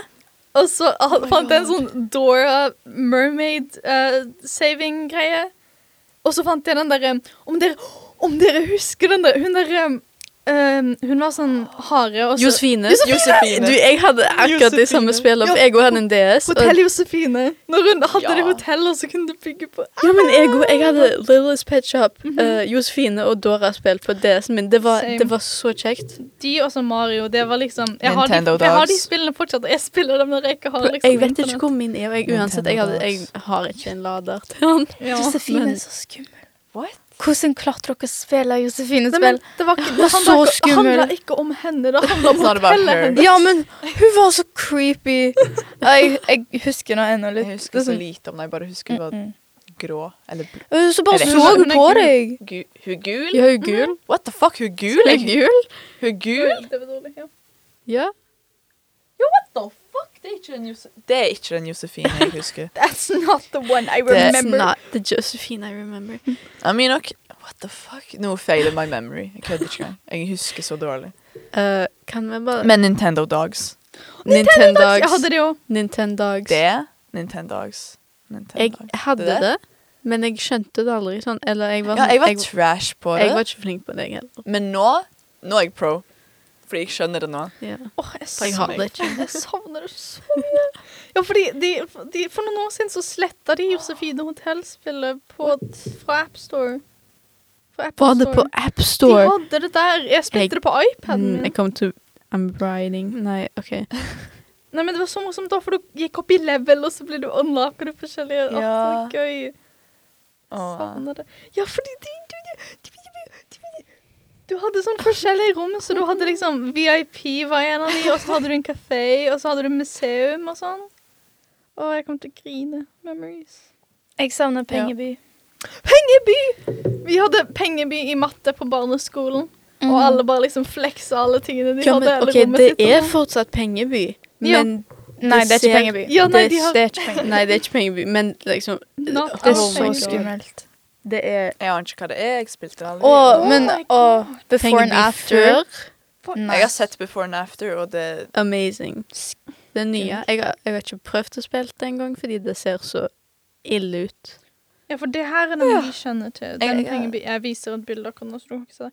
Speaker 2: Og så
Speaker 1: my
Speaker 2: fant jeg en
Speaker 1: God.
Speaker 2: sånn Dora Mermaid-saving-greie. og så fant jeg den derre om, dere- om dere husker den der Hun derre Hun var sånn hare og så
Speaker 3: Josefine.
Speaker 1: Josefine.
Speaker 3: Du, jeg hadde akkurat de samme
Speaker 1: Josefine.
Speaker 3: spillene, for jeg òg hadde en DS. og-
Speaker 2: Hotell Josefine. Når hun hadde
Speaker 1: Ja.
Speaker 2: det hotellet, så kunne du bygge på
Speaker 3: Ja, men jeg, og- jeg hadde
Speaker 2: Ah.
Speaker 3: Lillis Pet Shop, eh, Josefine og Dora spilt på DS-en min. Det var,
Speaker 2: Mhm. Same.
Speaker 3: det var så kjekt.
Speaker 2: De og så Mario. Det var liksom Jeg har, de,
Speaker 1: Nintendo
Speaker 2: jeg har de
Speaker 1: Dogs.
Speaker 2: spillene fortsatt. og Jeg spiller dem når jeg ikke har liksom
Speaker 3: Jeg vet ikke
Speaker 2: internett.
Speaker 3: hvor min er, og jeg, uansett, jeg, hadde, jeg har ikke en lader til han.
Speaker 2: Ja.
Speaker 4: Josefine
Speaker 3: men-
Speaker 4: er så skummel.
Speaker 1: What?
Speaker 4: Hvordan klarte dere å spille
Speaker 2: Nei, men
Speaker 4: Josefine-spill?
Speaker 2: det var ikke,
Speaker 4: Det var
Speaker 2: det
Speaker 4: så
Speaker 2: handla ikke- det handla
Speaker 4: skummelt.
Speaker 2: ikke om henne, det handla om
Speaker 1: It's not about her.
Speaker 2: hotellet hennes.
Speaker 4: Ja, men hun var så creepy. Jeg, jeg husker henne ennå litt.
Speaker 1: Jeg husker
Speaker 3: sånn-
Speaker 1: så lite om den. Jeg bare husker hun var
Speaker 3: Mm,
Speaker 2: Mm.
Speaker 4: Mm-mm.
Speaker 1: grå. Eller bl-
Speaker 4: Hun Så bare
Speaker 1: Jeg vet
Speaker 4: så
Speaker 1: ikke.
Speaker 4: hun på deg.
Speaker 1: gu Hun er gul? Mhm.
Speaker 3: Ja, hun gul.
Speaker 1: What the fuck, hun er gul?
Speaker 3: Hun er
Speaker 1: Jeg-
Speaker 3: gul.
Speaker 1: Hun er gul?
Speaker 2: Det var dårlig, ja.
Speaker 3: Ja.
Speaker 1: What the fuck? Det er ikke den, Jose det er ikke den Josefine jeg husker.
Speaker 2: That's not the one I
Speaker 1: er
Speaker 3: That's
Speaker 2: remember.
Speaker 4: sånn-
Speaker 2: Mm.
Speaker 3: not the Josephine I remember.
Speaker 1: I mean, ok. What the fuck? Nå feiler my memory. Jeg kødder ikke engang. Jeg husker så dårlig.
Speaker 3: Eh, kan vi bare
Speaker 1: Men Nintendo Dogs.
Speaker 3: Nintendogs.
Speaker 2: Jeg hadde det òg.
Speaker 3: Nintendogs.
Speaker 1: Det? Nintendo Dogs. Nintendo
Speaker 3: Jeg
Speaker 1: Dogs.
Speaker 3: hadde
Speaker 1: Det
Speaker 3: det,
Speaker 1: der?
Speaker 3: men jeg skjønte det aldri sånn. Eller jeg var,
Speaker 1: Ja,
Speaker 3: sånn-
Speaker 1: jeg var
Speaker 3: jeg,
Speaker 1: trash på
Speaker 3: jeg var
Speaker 1: det.
Speaker 3: ikke flink på det, jeg heller.
Speaker 1: Men nå, nå er jeg pro. Fordi jeg skjønner det nå.
Speaker 3: Ja.
Speaker 2: Åh, jeg,
Speaker 3: For jeg har det ikke.
Speaker 2: savner- jeg savner det så mye. Ja, fordi de, de, For noen år siden så sletta de Josefine Hotell-spillet på, fra AppStore.
Speaker 3: Var det på
Speaker 2: De
Speaker 3: AppStore?
Speaker 2: hadde det der. Jeg
Speaker 3: Jeg-
Speaker 2: spilte det på iPaden
Speaker 3: Mm, jeg
Speaker 2: min.
Speaker 3: kom til I'm riding Nei, OK.
Speaker 2: Nei, men Det var så morsomt, da, for du gikk opp i level, og så ble du unlocka du forskjellige ja.
Speaker 1: Ja.
Speaker 2: Gøy.
Speaker 1: Åh.
Speaker 2: Savner det. Ja, fordi de, de, de, de, de, de, de. Du hadde sånn forskjellige rom, så du hadde liksom VIP var en av de, og så hadde du en kafé, og så hadde du museum og sånn. Å, jeg kom til å grine. Memories.
Speaker 4: Jeg savner Pengeby.
Speaker 2: Pengeby! Vi hadde pengeby i matte på barneskolen,
Speaker 4: Mm.
Speaker 2: og alle bare liksom fleksa alle tingene de
Speaker 3: Mm. Ja,
Speaker 2: hadde.
Speaker 3: men,
Speaker 2: eller
Speaker 3: ok,
Speaker 2: rommet
Speaker 3: det
Speaker 2: sitt og
Speaker 3: er
Speaker 2: sånn.
Speaker 3: fortsatt pengeby,
Speaker 2: Ja.
Speaker 3: men
Speaker 4: Nei, det er ikke
Speaker 3: ser-
Speaker 4: Pengeby.
Speaker 2: Ja, nei,
Speaker 3: det,
Speaker 2: de har
Speaker 3: det er ikke pengeby. Nei, det er ikke pengeby, men liksom
Speaker 2: Natt-
Speaker 4: Det er
Speaker 3: Oh
Speaker 4: så
Speaker 2: Pengeby.
Speaker 3: my God.
Speaker 4: skummelt.
Speaker 3: Det er
Speaker 1: Jeg aner ikke hva det er. Jeg spilte aldri.
Speaker 4: Å,
Speaker 2: Oh
Speaker 4: men
Speaker 2: my
Speaker 4: å, Before and
Speaker 3: pengeby
Speaker 4: after.
Speaker 3: før.
Speaker 1: Jeg har sett Before and After, og det
Speaker 3: Amazing. Det nye. Jeg har, jeg har ikke prøvd å spille det engang fordi det ser så ille ut.
Speaker 2: Ja, for det her er den vi skjønner til. Den
Speaker 1: Jeg- jeg-
Speaker 2: pengeby, jeg viser et bilde akkurat nå, så du har ikke sett det.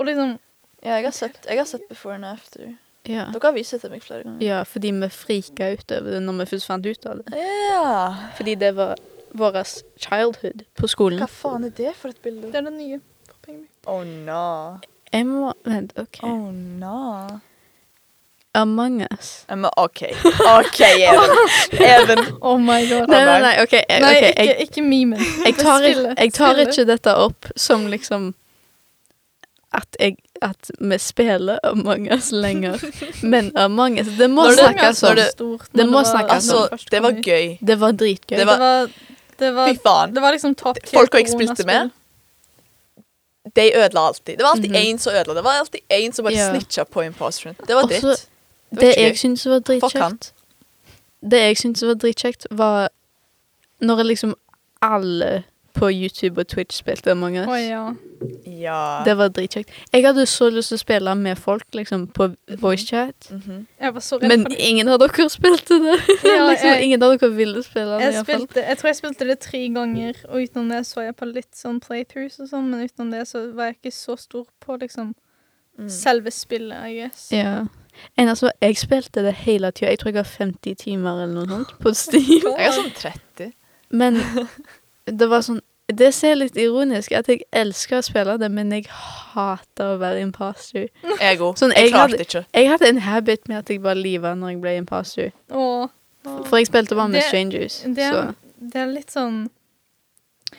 Speaker 2: Og liksom,
Speaker 1: Ja, jeg har sett, jeg har sett Before and After.
Speaker 3: Ja.
Speaker 1: Dere har vist det til meg flere ganger.
Speaker 3: ja, fordi vi frika ut over det når vi først fant ut av det.
Speaker 1: Ja.
Speaker 3: Fordi det var vår childhood på skolen.
Speaker 1: Hva faen er det for et bilde?
Speaker 2: det er den nye på pengeby.
Speaker 1: Oh no.
Speaker 3: Jeg må Vent, OK.
Speaker 1: Oh no.
Speaker 3: Among Us.
Speaker 1: Ja, Men OK. OK, Even. Even.
Speaker 2: Oh my god.
Speaker 1: Nei,
Speaker 3: Nei, nei, nei, OK. Jeg,
Speaker 2: Nei,
Speaker 3: ok,
Speaker 2: ikke,
Speaker 3: jeg,
Speaker 2: ikke memen.
Speaker 3: jeg, tar,
Speaker 2: Spillet,
Speaker 3: jeg tar
Speaker 2: spillet.
Speaker 3: ikke dette opp som liksom at, jeg, at vi spiller Among Us lenger. Men Among Us Det må
Speaker 2: Når det-
Speaker 3: snakkes om.
Speaker 2: når stort,
Speaker 3: det
Speaker 2: når
Speaker 3: må
Speaker 2: var-
Speaker 3: snakkes
Speaker 2: når
Speaker 1: Altså,
Speaker 2: først
Speaker 1: det var
Speaker 2: kom ut.
Speaker 1: gøy.
Speaker 3: Det var dritgøy.
Speaker 2: Det
Speaker 1: Det
Speaker 2: var,
Speaker 1: var-
Speaker 2: det var,
Speaker 1: Fy faen.
Speaker 2: det var liksom top tier
Speaker 1: Folk jeg spilte med.
Speaker 2: koronaspill.
Speaker 1: De ødela alltid. Det var alltid
Speaker 3: Mhm.
Speaker 1: én som ødela. Det var alltid én som bare
Speaker 3: Ja.
Speaker 1: snitcha på imposteren. Det var
Speaker 3: Også-
Speaker 1: dritt.
Speaker 3: Det,
Speaker 1: var ikke
Speaker 3: jeg
Speaker 1: gøy.
Speaker 3: syntes var
Speaker 1: Fuck han.
Speaker 3: dritkjekt Det jeg syntes var dritkjekt, var når liksom alle på YouTube og Twitch spilte Among Us.
Speaker 2: Å ja.
Speaker 1: Ja.
Speaker 3: Det var dritkjekt. Jeg hadde så lyst til å spille med folk liksom på VoiceChat,
Speaker 1: Mhm.
Speaker 2: Jeg var så redd
Speaker 3: men
Speaker 2: for det.
Speaker 3: ingen av dere spilte det.
Speaker 2: Ja,
Speaker 3: liksom,
Speaker 2: jeg-
Speaker 3: ingen av dere ville spille det. i
Speaker 2: Jeg,
Speaker 3: hvert fall.
Speaker 2: spilte, jeg tror jeg spilte det tre ganger, og utenom det så jeg på litt sånn playthroughs og sånn, men utenom det så var jeg ikke så stor på liksom
Speaker 1: Mm.
Speaker 2: selve spillet, I guess.
Speaker 3: Ja. En, altså, jeg spilte det hele tida. Jeg tror jeg har 50 timer eller noe sånt på Steam.
Speaker 1: Jeg er sånn 30.
Speaker 3: Men det var sånn Det som er litt ironisk, at jeg elsker å spille det, men jeg hater å være imposter.
Speaker 1: Jeg er god.
Speaker 3: Sånn,
Speaker 1: jeg
Speaker 3: jeg
Speaker 1: klarte
Speaker 3: hadde-
Speaker 1: ikke.
Speaker 3: Jeg hadde en habit med at jeg bare liva når jeg ble imposter.
Speaker 2: Åh,
Speaker 3: For jeg spilte bare med
Speaker 2: Det-
Speaker 3: strangers.
Speaker 2: det,
Speaker 3: så.
Speaker 2: er- det er litt sånn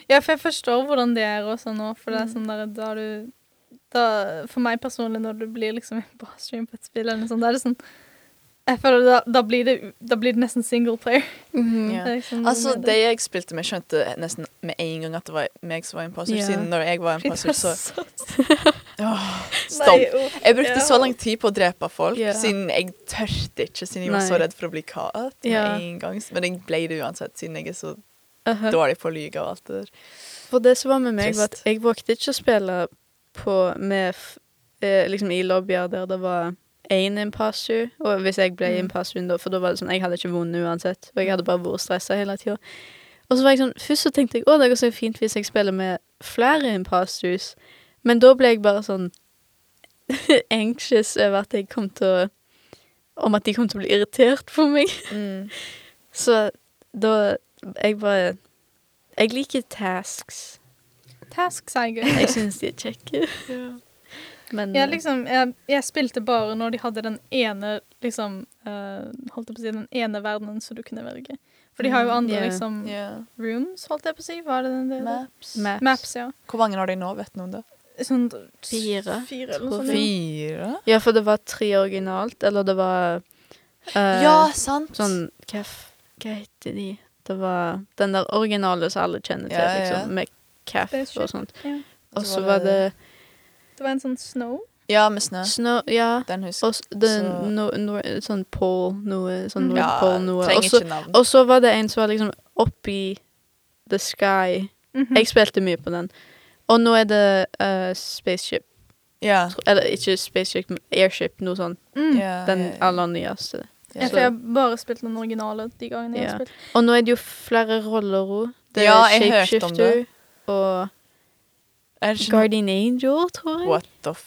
Speaker 2: Ja, for jeg forstår hvordan det er også nå, for det er sånn der da du da, For meg personlig, når du blir liksom imposter på et spill eller noe sånt, da er det sånn jeg føler da, da, blir det, da blir det nesten single player.
Speaker 3: Mhm.
Speaker 4: Mm-hmm.
Speaker 1: Ja.
Speaker 2: Det er liksom
Speaker 1: Altså,
Speaker 2: med
Speaker 1: de jeg spilte med, skjønte nesten med en gang at det var meg som var imposter,
Speaker 3: Ja.
Speaker 1: siden når jeg var
Speaker 2: Fordi
Speaker 1: imposter,
Speaker 2: det
Speaker 1: så
Speaker 2: er så-
Speaker 1: Åh, Stopp.
Speaker 2: Nei, uff.
Speaker 1: Jeg brukte
Speaker 2: Ja.
Speaker 1: så lang tid på å drepe folk,
Speaker 3: Ja.
Speaker 1: siden jeg tørte ikke, siden jeg var
Speaker 3: Nei.
Speaker 1: så redd for å bli kaet med
Speaker 3: Ja.
Speaker 1: en gang. Men jeg ble det uansett, siden jeg er så
Speaker 3: Aha.
Speaker 1: dårlig på å lyge og alt det der.
Speaker 3: For det som var med meg, var at
Speaker 1: Trist.
Speaker 3: jeg vågte ikke å spille på med f eh, liksom i lobbyer der det var én imposter, og hvis jeg ble
Speaker 1: Mm.
Speaker 3: imposteren da, for da var det sånn Jeg hadde ikke vunnet uansett, og jeg hadde bare vært stressa hele tida. Og så var jeg sånn Først så tenkte jeg å, det går så fint hvis jeg spiller med flere imposters, men da ble jeg bare sånn anxious over at jeg kom til å Om at de kom til å bli irritert på meg. Mm. Så da Jeg bare Jeg liker tasks.
Speaker 2: Tasks er gøy.
Speaker 3: Jeg syns de er kjekke. Men
Speaker 2: Jeg, liksom, jeg, jeg spilte bare når de hadde den ene liksom, eh, holdt jeg på å si, den ene verdenen som du kunne velge. For de har jo
Speaker 1: Mm,
Speaker 2: andre
Speaker 3: ja.
Speaker 2: liksom,
Speaker 1: Ja.
Speaker 2: rooms, holdt jeg på å si. Hva er det den der?
Speaker 1: Maps.
Speaker 3: maps.
Speaker 2: Maps, ja.
Speaker 1: Hvor mange har de nå? Vet noen det?
Speaker 2: Sånn
Speaker 3: Fire,
Speaker 2: fire eller noe sånt.
Speaker 3: tror
Speaker 2: ja.
Speaker 1: Fire?
Speaker 3: Ja, for det var tre originalt, eller det var eh,
Speaker 1: Ja, sant!
Speaker 3: Sånn hva, f- hva heter de? Det var den der originale som alle kjenner til,
Speaker 1: Ja, ja, ja.
Speaker 3: liksom, med Caff
Speaker 2: Spaceship,
Speaker 3: og sånt.
Speaker 2: ja.
Speaker 3: Og så var det
Speaker 2: Det var en sånn snow.
Speaker 1: eh, Ja, med snø.
Speaker 3: Snow Ja.
Speaker 1: Den husker jeg.
Speaker 3: Og s- det
Speaker 1: Så-
Speaker 3: no, no, sånn Pole noe, sånn
Speaker 2: Mm.
Speaker 3: North Pole noe.
Speaker 1: trenger
Speaker 3: Og så-
Speaker 1: ikke navn.
Speaker 3: Og så var det en som var liksom oppi the sky.
Speaker 2: Mhm.
Speaker 3: Jeg spilte mye på den. Og nå er det eh, Spaceship.
Speaker 1: Ja.
Speaker 3: Eller ikke Spaceship, men Airship, noe sånt.
Speaker 2: Mm.
Speaker 1: ja,
Speaker 3: Den
Speaker 1: ja, ja.
Speaker 3: aller nyeste.
Speaker 2: Ja, for jeg har bare spilt den originale de gangene jeg
Speaker 3: Ja.
Speaker 2: har spilt.
Speaker 3: Og nå er det jo flere roller òg. Det er
Speaker 1: Ja, jeg hørte om
Speaker 3: Shapeshifter
Speaker 1: det.
Speaker 3: og
Speaker 1: Er det ikke
Speaker 3: Guardian Angel, tror jeg.
Speaker 1: What the f...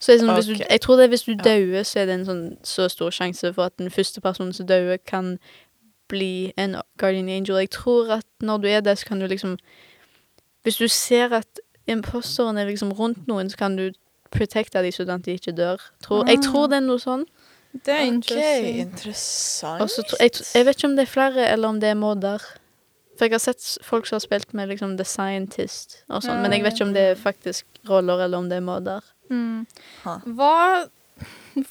Speaker 3: Så er det sånn, hvis du,
Speaker 1: Ok.
Speaker 3: jeg tror det er hvis du
Speaker 1: Ja.
Speaker 3: dauer, så er det en sånn så stor sjanse for at den første personen som dauer, kan bli en guardian angel. Jeg tror at når du er det, så kan du liksom Hvis du ser at imposteren er liksom rundt noen, så kan du protecte dem sånn at de ikke dør. Tror, Jeg
Speaker 2: Ah.
Speaker 3: tror det er noe sånn.
Speaker 2: Det er
Speaker 1: OK,
Speaker 2: interessant.
Speaker 1: interessant.
Speaker 3: Og så tro- jeg, tr- jeg vet ikke om det er flere, eller om det er modder. For jeg har sett s- folk som har spilt med liksom The Scientist og sånn,
Speaker 2: Ja,
Speaker 3: men jeg vet
Speaker 2: ja.
Speaker 3: ikke om det er faktisk roller, eller om det er modder.
Speaker 2: Mm.
Speaker 1: Ha.
Speaker 2: Hva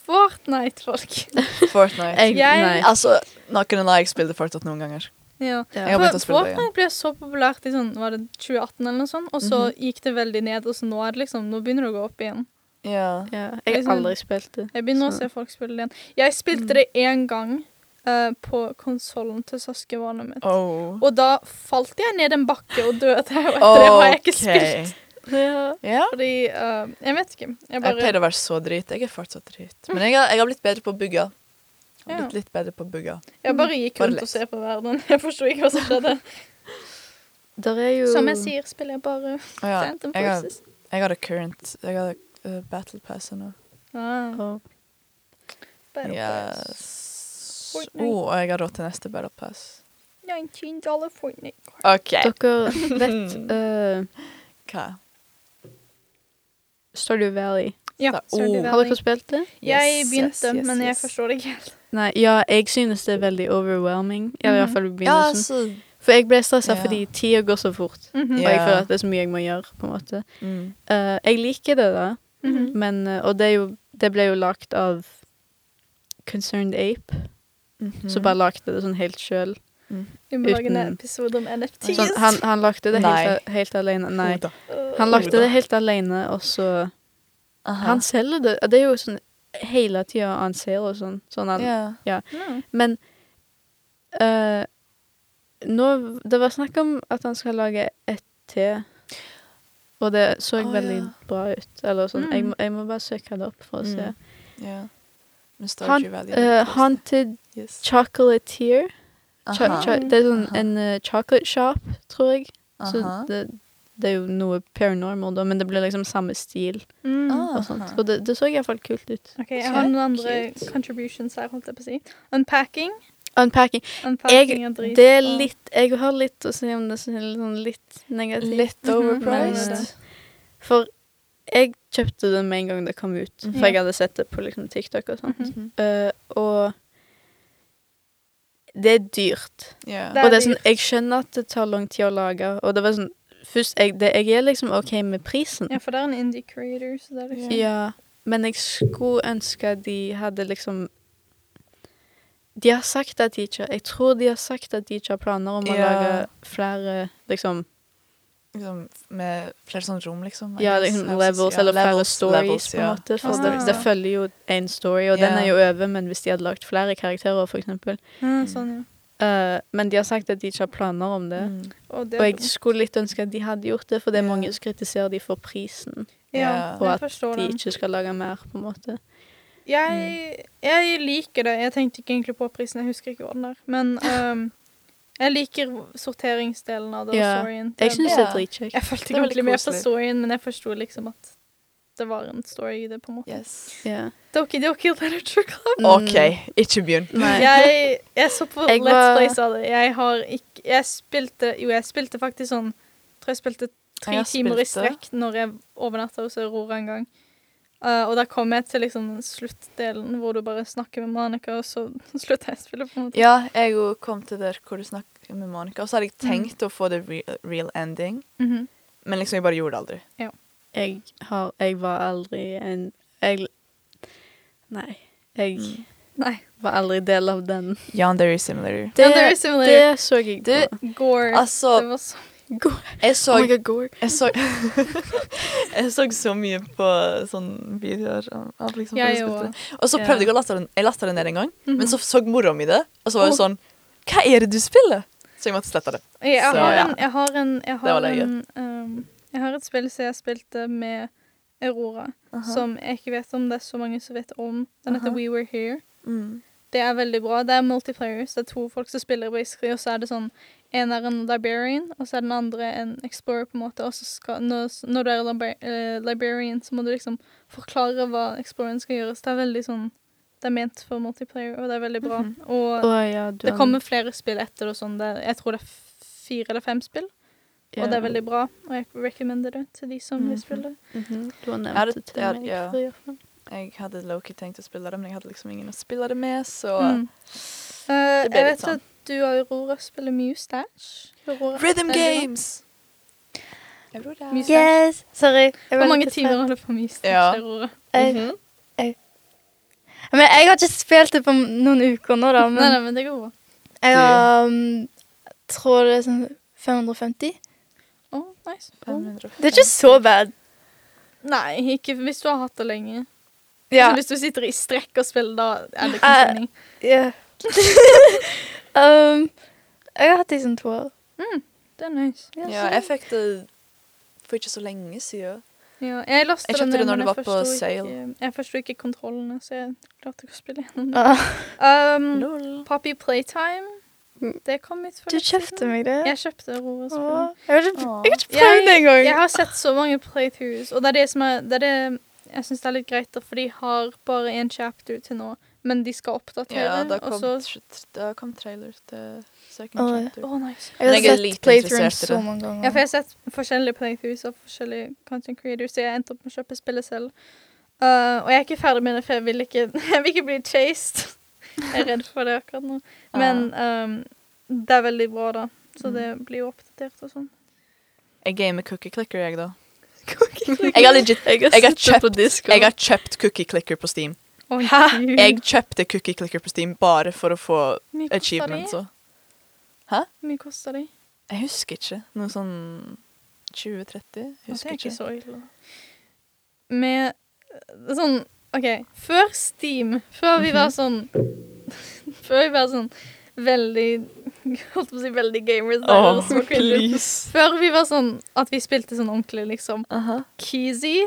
Speaker 2: Fortnite, folk.
Speaker 1: Fortnite.
Speaker 3: Jeg,
Speaker 2: Jeg-
Speaker 3: nei.
Speaker 1: Altså, Naken and I, jeg spilte Fortnite noen ganger.
Speaker 2: Ja.
Speaker 1: Jeg har
Speaker 3: Ja.
Speaker 1: begynt å
Speaker 2: For
Speaker 1: spille det igjen.
Speaker 2: Fortnite ble så populært i sånn, var det 2018 eller noe sånt, og så
Speaker 1: Mhm.
Speaker 2: gikk det veldig ned, og så nå er det liksom, nå begynner det å gå opp igjen.
Speaker 1: Ja.
Speaker 3: Ja, jeg har aldri spilt det.
Speaker 2: Jeg begynner å
Speaker 3: Så-
Speaker 2: se folk spille det igjen. Jeg spilte
Speaker 1: Mm.
Speaker 2: det én gang eh, på konsollen til søskenbarnet mitt.
Speaker 1: Oh.
Speaker 2: Og da falt jeg ned en bakke og døde, og etter det har jeg ikke spilt.
Speaker 3: Ja.
Speaker 1: Ja.
Speaker 2: Fordi, eh, jeg vet ikke. Jeg
Speaker 1: Jeg
Speaker 2: bare,
Speaker 1: pleide å være så drit. Jeg er fortsatt drit. Men jeg har, jeg har blitt bedre på å bygge. Jeg har
Speaker 2: Ja.
Speaker 1: blitt litt bedre på å bygge.
Speaker 2: jeg bare gikk
Speaker 1: Bare
Speaker 2: rundt og
Speaker 1: les.
Speaker 2: så på verden. Jeg forsto ikke hva som skjedde.
Speaker 3: Der er jo
Speaker 2: Som jeg sier, spiller jeg bare
Speaker 1: Å ja.
Speaker 2: Phantom
Speaker 1: Jeg har,
Speaker 2: Forces.
Speaker 1: jeg har det current. Jeg har det, uh, battle pass nå.
Speaker 2: Ah,
Speaker 3: Å,
Speaker 2: Battle Pass.
Speaker 1: Yes.
Speaker 2: Fortnite.
Speaker 1: Oh, og jeg har råd til neste battle pass.
Speaker 2: 19 dollar Fortnite.
Speaker 1: OK. Hmm.
Speaker 3: Dere vet eh,
Speaker 1: Hva?
Speaker 3: Stardew Valley.
Speaker 2: Ja,
Speaker 1: Da-
Speaker 2: Stardew
Speaker 1: oh.
Speaker 2: Valley.
Speaker 3: Har dere spilt det?
Speaker 2: Jeg
Speaker 1: Yes,
Speaker 2: begynte,
Speaker 1: yes, yes,
Speaker 2: men jeg
Speaker 1: yes.
Speaker 2: forstår det ikke helt.
Speaker 3: Nei, ja, jeg synes det er veldig overwhelming. Eller i hvert fall i
Speaker 1: Ja,
Speaker 3: begynnelsen.
Speaker 1: altså
Speaker 3: For jeg ble stressa
Speaker 1: Ja.
Speaker 3: fordi tida går så fort.
Speaker 2: Mhm.
Speaker 3: Og jeg
Speaker 1: Ja.
Speaker 3: føler at det er så mye jeg må gjøre, på en måte.
Speaker 1: mm.
Speaker 3: Eh, jeg liker det, da.
Speaker 2: Mhm.
Speaker 3: Men, eh, og det, er jo, det ble jo lagt av Concerned Ape,
Speaker 1: Mhm.
Speaker 3: som bare lagde det sånn helt sjøl.
Speaker 2: Vi må lage en
Speaker 3: Uten-
Speaker 2: episode om NFTs.
Speaker 3: Sånn, han, han lagde det
Speaker 1: Nei.
Speaker 3: helt, helt alene. Nei.
Speaker 1: Hoda.
Speaker 3: Han lagde det helt alene, og så
Speaker 1: Aha.
Speaker 3: Han selger det. Det er jo sånn hele tida han ser og sånn. sånn han,
Speaker 1: Ja.
Speaker 2: Ja.
Speaker 3: Men eh, nå Det var snakk om at han skal lage ett til. Og det så
Speaker 1: Å,
Speaker 3: veldig
Speaker 1: ja.
Speaker 3: bra ut. Eller sånn.
Speaker 2: Mm.
Speaker 3: Jeg, må- jeg må bare søke det opp for å
Speaker 1: Mm.
Speaker 3: se.
Speaker 1: ja. Men
Speaker 3: Han,
Speaker 1: Stardew Valley
Speaker 3: eh, Haunted
Speaker 1: yes.
Speaker 3: Chocolatier. Cho
Speaker 1: Aha.
Speaker 3: cho det er sånn
Speaker 1: Aha.
Speaker 3: en eh, chocolate shop, tror jeg. Så
Speaker 1: Aha.
Speaker 3: det, det er jo noe paranormal, da, men det blir liksom samme stil.
Speaker 2: Mm.
Speaker 1: Ah.
Speaker 3: og sånt.
Speaker 1: Aha.
Speaker 3: Og det, det så iallfall kult ut.
Speaker 2: OK, jeg har noen andre contributions her, holdt jeg på å si. Unpacking.
Speaker 3: Unpacking.
Speaker 2: Unpacking
Speaker 3: Jeg,
Speaker 2: er drit.
Speaker 3: det er litt, jeg har litt å si om det som er litt sånn litt negativt.
Speaker 1: Litt
Speaker 3: Men,
Speaker 1: overpriced.
Speaker 3: eh, For jeg kjøpte det med en gang det kom ut,
Speaker 1: Mhm.
Speaker 3: for jeg hadde sett det på liksom, TikTok og sånn.
Speaker 1: Mhm.
Speaker 3: Eh, og det er dyrt.
Speaker 1: Ja.
Speaker 2: Det er
Speaker 3: og det er sånn,
Speaker 2: dyrt.
Speaker 3: jeg skjønner at det tar lang tid å lage, og det var sånn Først, jeg, det, jeg er liksom OK med prisen,
Speaker 2: Ja, for det er en indie creator, så det er liksom
Speaker 3: Ja, men jeg skulle ønske de hadde liksom De har sagt at de ikke Jeg tror de har sagt at de ikke har planer om å
Speaker 1: Ja.
Speaker 3: lage flere liksom
Speaker 1: Liksom, med flere sånne rom, liksom. I
Speaker 3: Ja,
Speaker 1: guess,
Speaker 3: liksom
Speaker 1: houses,
Speaker 3: levels
Speaker 1: ja,
Speaker 3: eller flere
Speaker 1: levels,
Speaker 3: stories,
Speaker 1: levels,
Speaker 3: på en
Speaker 1: ja.
Speaker 3: måte. For
Speaker 2: Ah.
Speaker 3: det, det følger jo én story, og den
Speaker 1: Ja.
Speaker 3: er jo over, men hvis de hadde lagt flere karakterer, for eksempel
Speaker 2: Mm, sånn, ja.
Speaker 3: Eh, Men de har sagt at de ikke har planer om det.
Speaker 1: Mm.
Speaker 2: Og det
Speaker 3: Og jeg skulle litt ønske at de hadde gjort det, for det er
Speaker 1: Ja.
Speaker 3: mange som kritiserer de for prisen.
Speaker 2: ja,
Speaker 1: Ja.
Speaker 3: Og
Speaker 2: jeg
Speaker 3: at
Speaker 2: forstår
Speaker 3: De
Speaker 2: den.
Speaker 3: ikke skal lage mer, på en måte.
Speaker 2: Jeg,
Speaker 3: Mm.
Speaker 2: jeg liker det. Jeg tenkte ikke egentlig på prisen, jeg husker ikke hva den er. Men ehm, jeg liker sorteringsdelen av det. og
Speaker 3: Ja.
Speaker 2: storyen. Det-
Speaker 3: Jeg syns det
Speaker 1: Ja.
Speaker 3: er dritkjekt.
Speaker 2: Jeg følte
Speaker 1: Det
Speaker 2: ikke
Speaker 1: var
Speaker 2: ordentlig
Speaker 1: veldig
Speaker 2: med på
Speaker 1: koselig.
Speaker 2: storyen, men jeg forsto liksom at det var en story i det, på en måte.
Speaker 1: Yes.
Speaker 3: Ja. Mm.
Speaker 2: Det var ikke det var ikke Literature Club.
Speaker 1: OK, ikke begynn.
Speaker 3: Nei.
Speaker 2: Jeg, jeg så på
Speaker 3: Jeg
Speaker 2: Let's
Speaker 3: var-
Speaker 2: Plays av det. Jeg har ikke Jeg spilte Jo, jeg spilte faktisk sånn Tror jeg spilte
Speaker 1: Jeg
Speaker 2: tre
Speaker 1: har
Speaker 2: timer i
Speaker 1: spilt det.
Speaker 2: strekk når jeg overnatta hos Aurora en gang. Eh, og da kom jeg til liksom den sluttdelen hvor du bare snakker med Monica, og så slutter jeg å spille. på en måte.
Speaker 1: Ja, jeg jo kom til der hvor du snakker med Monica, og så
Speaker 2: Mm.
Speaker 1: hadde jeg tenkt å få the real, real ending,
Speaker 2: Mhm.
Speaker 1: men liksom jeg bare gjorde det aldri.
Speaker 3: Jeg har Jeg var aldri en Jeg Nei. Jeg
Speaker 1: Mm.
Speaker 2: Nei.
Speaker 3: var aldri del av den.
Speaker 1: Jan, there is similar.
Speaker 2: Det, det, det,
Speaker 3: det så jeg
Speaker 1: Du,
Speaker 3: på.
Speaker 2: Gore. det
Speaker 1: altså,
Speaker 2: var så
Speaker 3: Gore.
Speaker 1: jeg så
Speaker 3: Oh my god, gore.
Speaker 1: Jeg så Jeg så så mye på sånne videoer av liksom
Speaker 2: Jeg Mhm.
Speaker 1: folk som spilte
Speaker 2: òg.
Speaker 1: det. Og så
Speaker 3: Ja.
Speaker 1: prøvde jeg å laste den, jeg lastet den ned en gang, men så så mora mi det, og så var det
Speaker 2: Oh.
Speaker 1: sånn Hva er det du spiller? Så jeg måtte slette det.
Speaker 2: Jeg
Speaker 1: Så,
Speaker 2: har
Speaker 1: ja.
Speaker 2: en, jeg har en, jeg
Speaker 1: Det var
Speaker 2: har
Speaker 1: løye.
Speaker 2: en ehm, Jeg har et spill som jeg spilte med Aurora, som jeg ikke vet om det er så mange som vet om. Den heter
Speaker 1: Aha.
Speaker 2: We Were Here.
Speaker 1: Mm.
Speaker 2: Det er veldig bra. Det er multiplayers. Det er to folk som spiller, basically, og så er det sånn En er en librarian, og så er den andre en explorer, på en måte. Og så skal Når, når du er liber, eh, librarian, så må du liksom forklare hva exploreren skal gjøre. Så det er veldig sånn Det er ment for multiplayer, og det er veldig bra.
Speaker 1: Mhm.
Speaker 2: Og
Speaker 3: Å ja, du
Speaker 2: det
Speaker 3: har-
Speaker 2: kommer flere spill etter det og sånn. Det, er- jeg tror det er fire eller fem spill.
Speaker 3: ja.
Speaker 2: Og det er veldig bra, og jeg recommender det til de som vil
Speaker 1: Mhm.
Speaker 2: spille.
Speaker 3: Mhm, Du har
Speaker 1: Ja,
Speaker 3: nevnt
Speaker 1: det-
Speaker 3: det til
Speaker 1: ja,
Speaker 3: meg.
Speaker 1: ja.
Speaker 3: før, i hvert fall.
Speaker 1: Jeg hadde lowkey tenkt å spille det, men jeg hadde liksom ingen å spille det med, så
Speaker 2: Mm. Eh,
Speaker 1: det ble litt
Speaker 2: jeg vet
Speaker 1: sånn.
Speaker 2: at du og Aurora spiller Mustache. Aurora
Speaker 1: Rhythm
Speaker 2: spiller-
Speaker 1: Games! Aurora.
Speaker 2: Mustache.
Speaker 4: Yes! Sorry. jeg var
Speaker 2: Hvor mange
Speaker 4: litt
Speaker 2: timer har
Speaker 4: distrahert.
Speaker 2: du på Mustache,
Speaker 1: Ja.
Speaker 2: Aurora?
Speaker 4: Jeg-
Speaker 1: Mhm.
Speaker 2: Mm-hmm.
Speaker 4: Men jeg har ikke spilt det på noen uker nå, da.
Speaker 2: Nei,
Speaker 4: Men
Speaker 2: nei, men det går bra.
Speaker 4: jeg har um, tror det er sånn 550.
Speaker 2: Å, nice.
Speaker 1: 550.
Speaker 4: Det er ikke så bad.
Speaker 2: Nei, ikke hvis du har hatt det lenge.
Speaker 4: Ja.
Speaker 2: Så hvis du sitter i strekk og spiller, da er det
Speaker 4: Eh,
Speaker 2: concerning.
Speaker 4: ja. um, jeg har hatt det i sånn to år.
Speaker 2: Mm, Det er nice.
Speaker 1: Ja, sånn. jeg fikk det for ikke så lenge siden.
Speaker 2: Ja, jeg lastet
Speaker 1: Jeg kjøpte
Speaker 2: ned,
Speaker 1: det når det
Speaker 2: men jeg
Speaker 1: var på
Speaker 2: forsto
Speaker 1: sale.
Speaker 2: Ikke, jeg forsto ikke kontrollene, så jeg klarte ikke å spille gjennom det.
Speaker 4: Ah,
Speaker 2: Um,
Speaker 1: Lol.
Speaker 2: Poppy Playtime.
Speaker 3: Mm.
Speaker 2: Det kom ut for
Speaker 4: du kjøpte meg det.
Speaker 2: Jeg kjøpte Aurora
Speaker 4: Åh,
Speaker 2: spillet.
Speaker 4: Jeg har
Speaker 1: Åh.
Speaker 4: ikke, jeg har ikke prøvd det
Speaker 2: Jeg
Speaker 4: engang.
Speaker 2: har sett så mange playthroughs, og det er det som er det er det, Jeg syns det er litt greit, da, for de har bare én chapter til nå, men de skal oppdatere.
Speaker 1: Ja, da
Speaker 2: og
Speaker 1: kom,
Speaker 2: så
Speaker 1: da kom trailer til second
Speaker 4: Åh, ja.
Speaker 1: chapter.
Speaker 2: Å, nice.
Speaker 4: Jeg
Speaker 1: Men jeg er
Speaker 4: har
Speaker 1: lite
Speaker 4: sett playthrough
Speaker 1: interessert i
Speaker 4: så
Speaker 1: det.
Speaker 4: mange
Speaker 2: Ja, for
Speaker 4: ganger.
Speaker 2: jeg har sett forskjellige playthroughs av forskjellige content creators, så jeg endte opp med å kjøpe spillet selv. Eh, og jeg er ikke ferdig med det, for jeg vil ikke, jeg vil ikke bli chased. Jeg er redd for det akkurat nå. Men eh, det er veldig bra, da.
Speaker 1: Mm.
Speaker 2: Så det blir jo oppdatert og sånn.
Speaker 1: Jeg gamer cookie clicker, jeg, da.
Speaker 3: Jeg
Speaker 1: Jeg har legit jeg har
Speaker 3: sittet på
Speaker 1: kjøpt-
Speaker 3: Discord.
Speaker 1: Jeg har kjøpt cookie clicker på Steam.
Speaker 2: Oi,
Speaker 4: Hæ?
Speaker 2: Gud.
Speaker 1: Jeg kjøpte cookie clicker på Steam bare for å få
Speaker 2: Hvor mye koster
Speaker 1: achievements
Speaker 2: de?
Speaker 1: og
Speaker 2: Hvor mye koster de?
Speaker 1: Jeg husker ikke. Noe sånn 20-30?
Speaker 2: Ja, det
Speaker 1: Husker
Speaker 2: er ikke sånn.
Speaker 1: ikke.
Speaker 2: så ille. Med eh, sånn OK, før Steam, før vi var sånn Før vi var sånn veldig Holdt på å si veldig gamers. der,
Speaker 1: Åh,
Speaker 2: og små kvinner.
Speaker 1: please.
Speaker 2: før vi var sånn at vi spilte sånn ordentlig, liksom.
Speaker 1: Aha.
Speaker 2: Keezy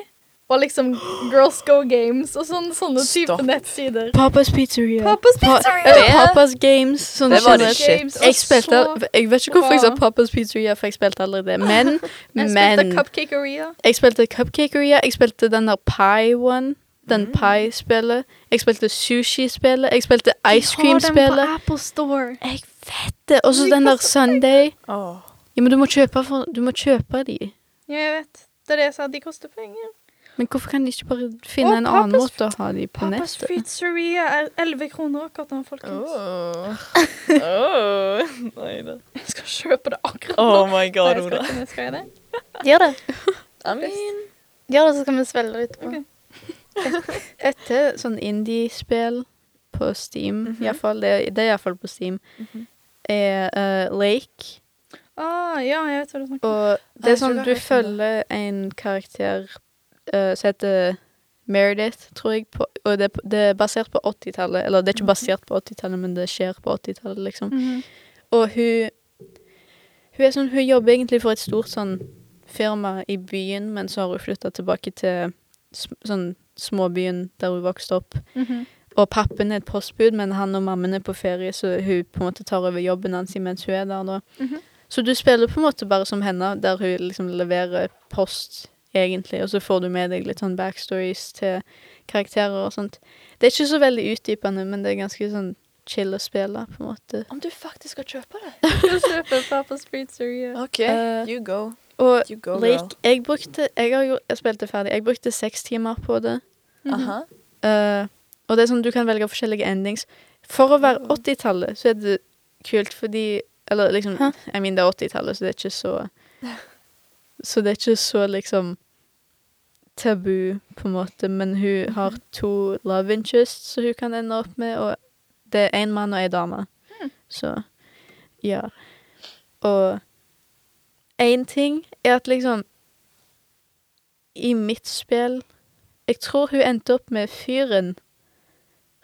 Speaker 2: og liksom Girls Go Games og sånn, sånne
Speaker 1: Stopp.
Speaker 2: type nettsider.
Speaker 3: Pappas Pizzeria.
Speaker 2: Pappas
Speaker 3: Eh,
Speaker 2: Pizzeria!
Speaker 1: Det-
Speaker 3: Pappas Games. Sånn
Speaker 1: Det var
Speaker 3: generelt.
Speaker 1: det shit.
Speaker 2: Games,
Speaker 3: Jeg
Speaker 2: og
Speaker 3: spilte
Speaker 2: så-
Speaker 3: Jeg vet ikke hvorfor jeg sa
Speaker 2: Bra.
Speaker 3: Pappas Pizzeria, for jeg spilte aldri det. Men,
Speaker 2: Jeg spilte
Speaker 3: men
Speaker 2: Cupcakeria.
Speaker 3: Jeg spilte Cupcakeria. Jeg spilte den der Pie One. Den
Speaker 2: Mm.
Speaker 3: Pie-spillet. Jeg spilte Sushi-spillet. Jeg spilte Ice Cream-spillet.
Speaker 2: Apple Store.
Speaker 3: Jeg vet det! Og så
Speaker 2: Men de
Speaker 3: den der
Speaker 2: koster
Speaker 3: Sunday.
Speaker 1: Åh.
Speaker 3: Ja, men du må kjøpe, for, du må kjøpe de.
Speaker 2: Ja, jeg vet. Det er det jeg sa, de koster penger.
Speaker 3: Men hvorfor kan de ikke bare finne
Speaker 2: Og
Speaker 3: en annen
Speaker 2: Pappas-
Speaker 3: måte å ha de på
Speaker 2: Pappas
Speaker 3: nettet?
Speaker 2: Pizzeria er 11 kroner akkurat nå, folkens.
Speaker 1: Åh. Åh. Nei da.
Speaker 2: Jeg skal kjøpe det akkurat nå.
Speaker 1: Oh my
Speaker 2: Nei,
Speaker 1: god,
Speaker 2: jeg skal
Speaker 1: Oda.
Speaker 2: ikke, men skal jeg det?
Speaker 4: Gjør det.
Speaker 1: I mean,
Speaker 4: Gjør det, så kan vi svelle det etterpå.
Speaker 2: Ok.
Speaker 3: Et til sånn indie-spill på Steam,
Speaker 2: Mhm.
Speaker 3: i hvert iallfall. Det, det er iallfall på Steam. Er eh, Lake.
Speaker 2: Ah, ja, jeg vet hva du snakker om.
Speaker 3: Og det
Speaker 1: jeg
Speaker 3: er
Speaker 1: tror
Speaker 3: sånn
Speaker 1: jeg vet
Speaker 3: du
Speaker 1: om det.
Speaker 3: følger en karakter eh, som heter Meredith, tror jeg, på, og det, er på- det er basert på 80-tallet. Eller det er ikke basert på 80-tallet, men det skjer på 80-tallet, liksom.
Speaker 2: Mhm.
Speaker 3: Og hun Hun er sånn, hun jobber egentlig for et stort sånn firma i byen, men så har hun flytta tilbake til sm sånn småbyen der hun vokste opp.
Speaker 2: Mhm.
Speaker 3: Og pappen er et postbud, men han og mammen er på ferie, så hun på en måte tar over jobben hans imens hun er der. da.
Speaker 2: Mhm.
Speaker 3: Så du spiller på en måte bare som henne, der hun liksom leverer post, egentlig, og så får du med deg litt sånn backstories til karakterer og sånt. Det er ikke så veldig utdypende, men det er ganske sånn chill å spille, på en måte.
Speaker 1: om du faktisk skal kjøpe det.
Speaker 2: Jeg skal kjøpe Pappas Pizzeria.
Speaker 1: OK,
Speaker 3: Eh,
Speaker 1: you go.
Speaker 3: Og
Speaker 1: You go, girl.
Speaker 3: Lake Jeg brukte Jeg har gjort Jeg spilte ferdig. Jeg brukte seks timer på det.
Speaker 2: Mhm.
Speaker 1: Aha.
Speaker 3: Eh, og det er sånn du kan velge forskjellige endings. For å være 80-tallet, så er det kult fordi Eller liksom
Speaker 4: Hæ?
Speaker 3: Jeg mener, det er 80-tallet, så det er ikke så Så det er ikke så liksom tabu, på en måte, men hun har to love interests som hun kan ende opp med, og det er én mann og ei dame. Så ja. Og én ting er at liksom I mitt spill Jeg tror hun endte opp med fyren.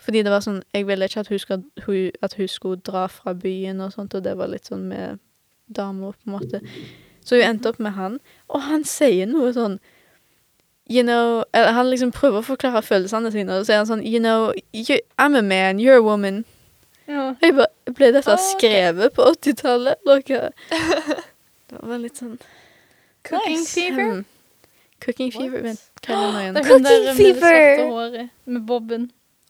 Speaker 3: Fordi det var sånn Jeg ville ikke at hun, skal, hun, at hun skulle dra fra byen og sånt, og det var litt sånn med damer, på en måte. Så hun endte opp med han, og han sier noe sånn You know eller Han liksom prøver å forklare følelsene sine, og så er han sånn You know, you, I'm a man, you're a woman.
Speaker 2: Ja.
Speaker 3: Jeg bare, ble dette
Speaker 1: Ok.
Speaker 3: skrevet på 80-tallet? Dere? Det var litt sånn
Speaker 2: Cooking
Speaker 1: Nice.
Speaker 2: Fever.
Speaker 3: hmm. Cooking fever, vent, hva er det nå
Speaker 2: Det
Speaker 3: igjen?
Speaker 2: er den der
Speaker 4: Cooking
Speaker 2: med det
Speaker 4: Fever.
Speaker 2: svarte håret, med bobben.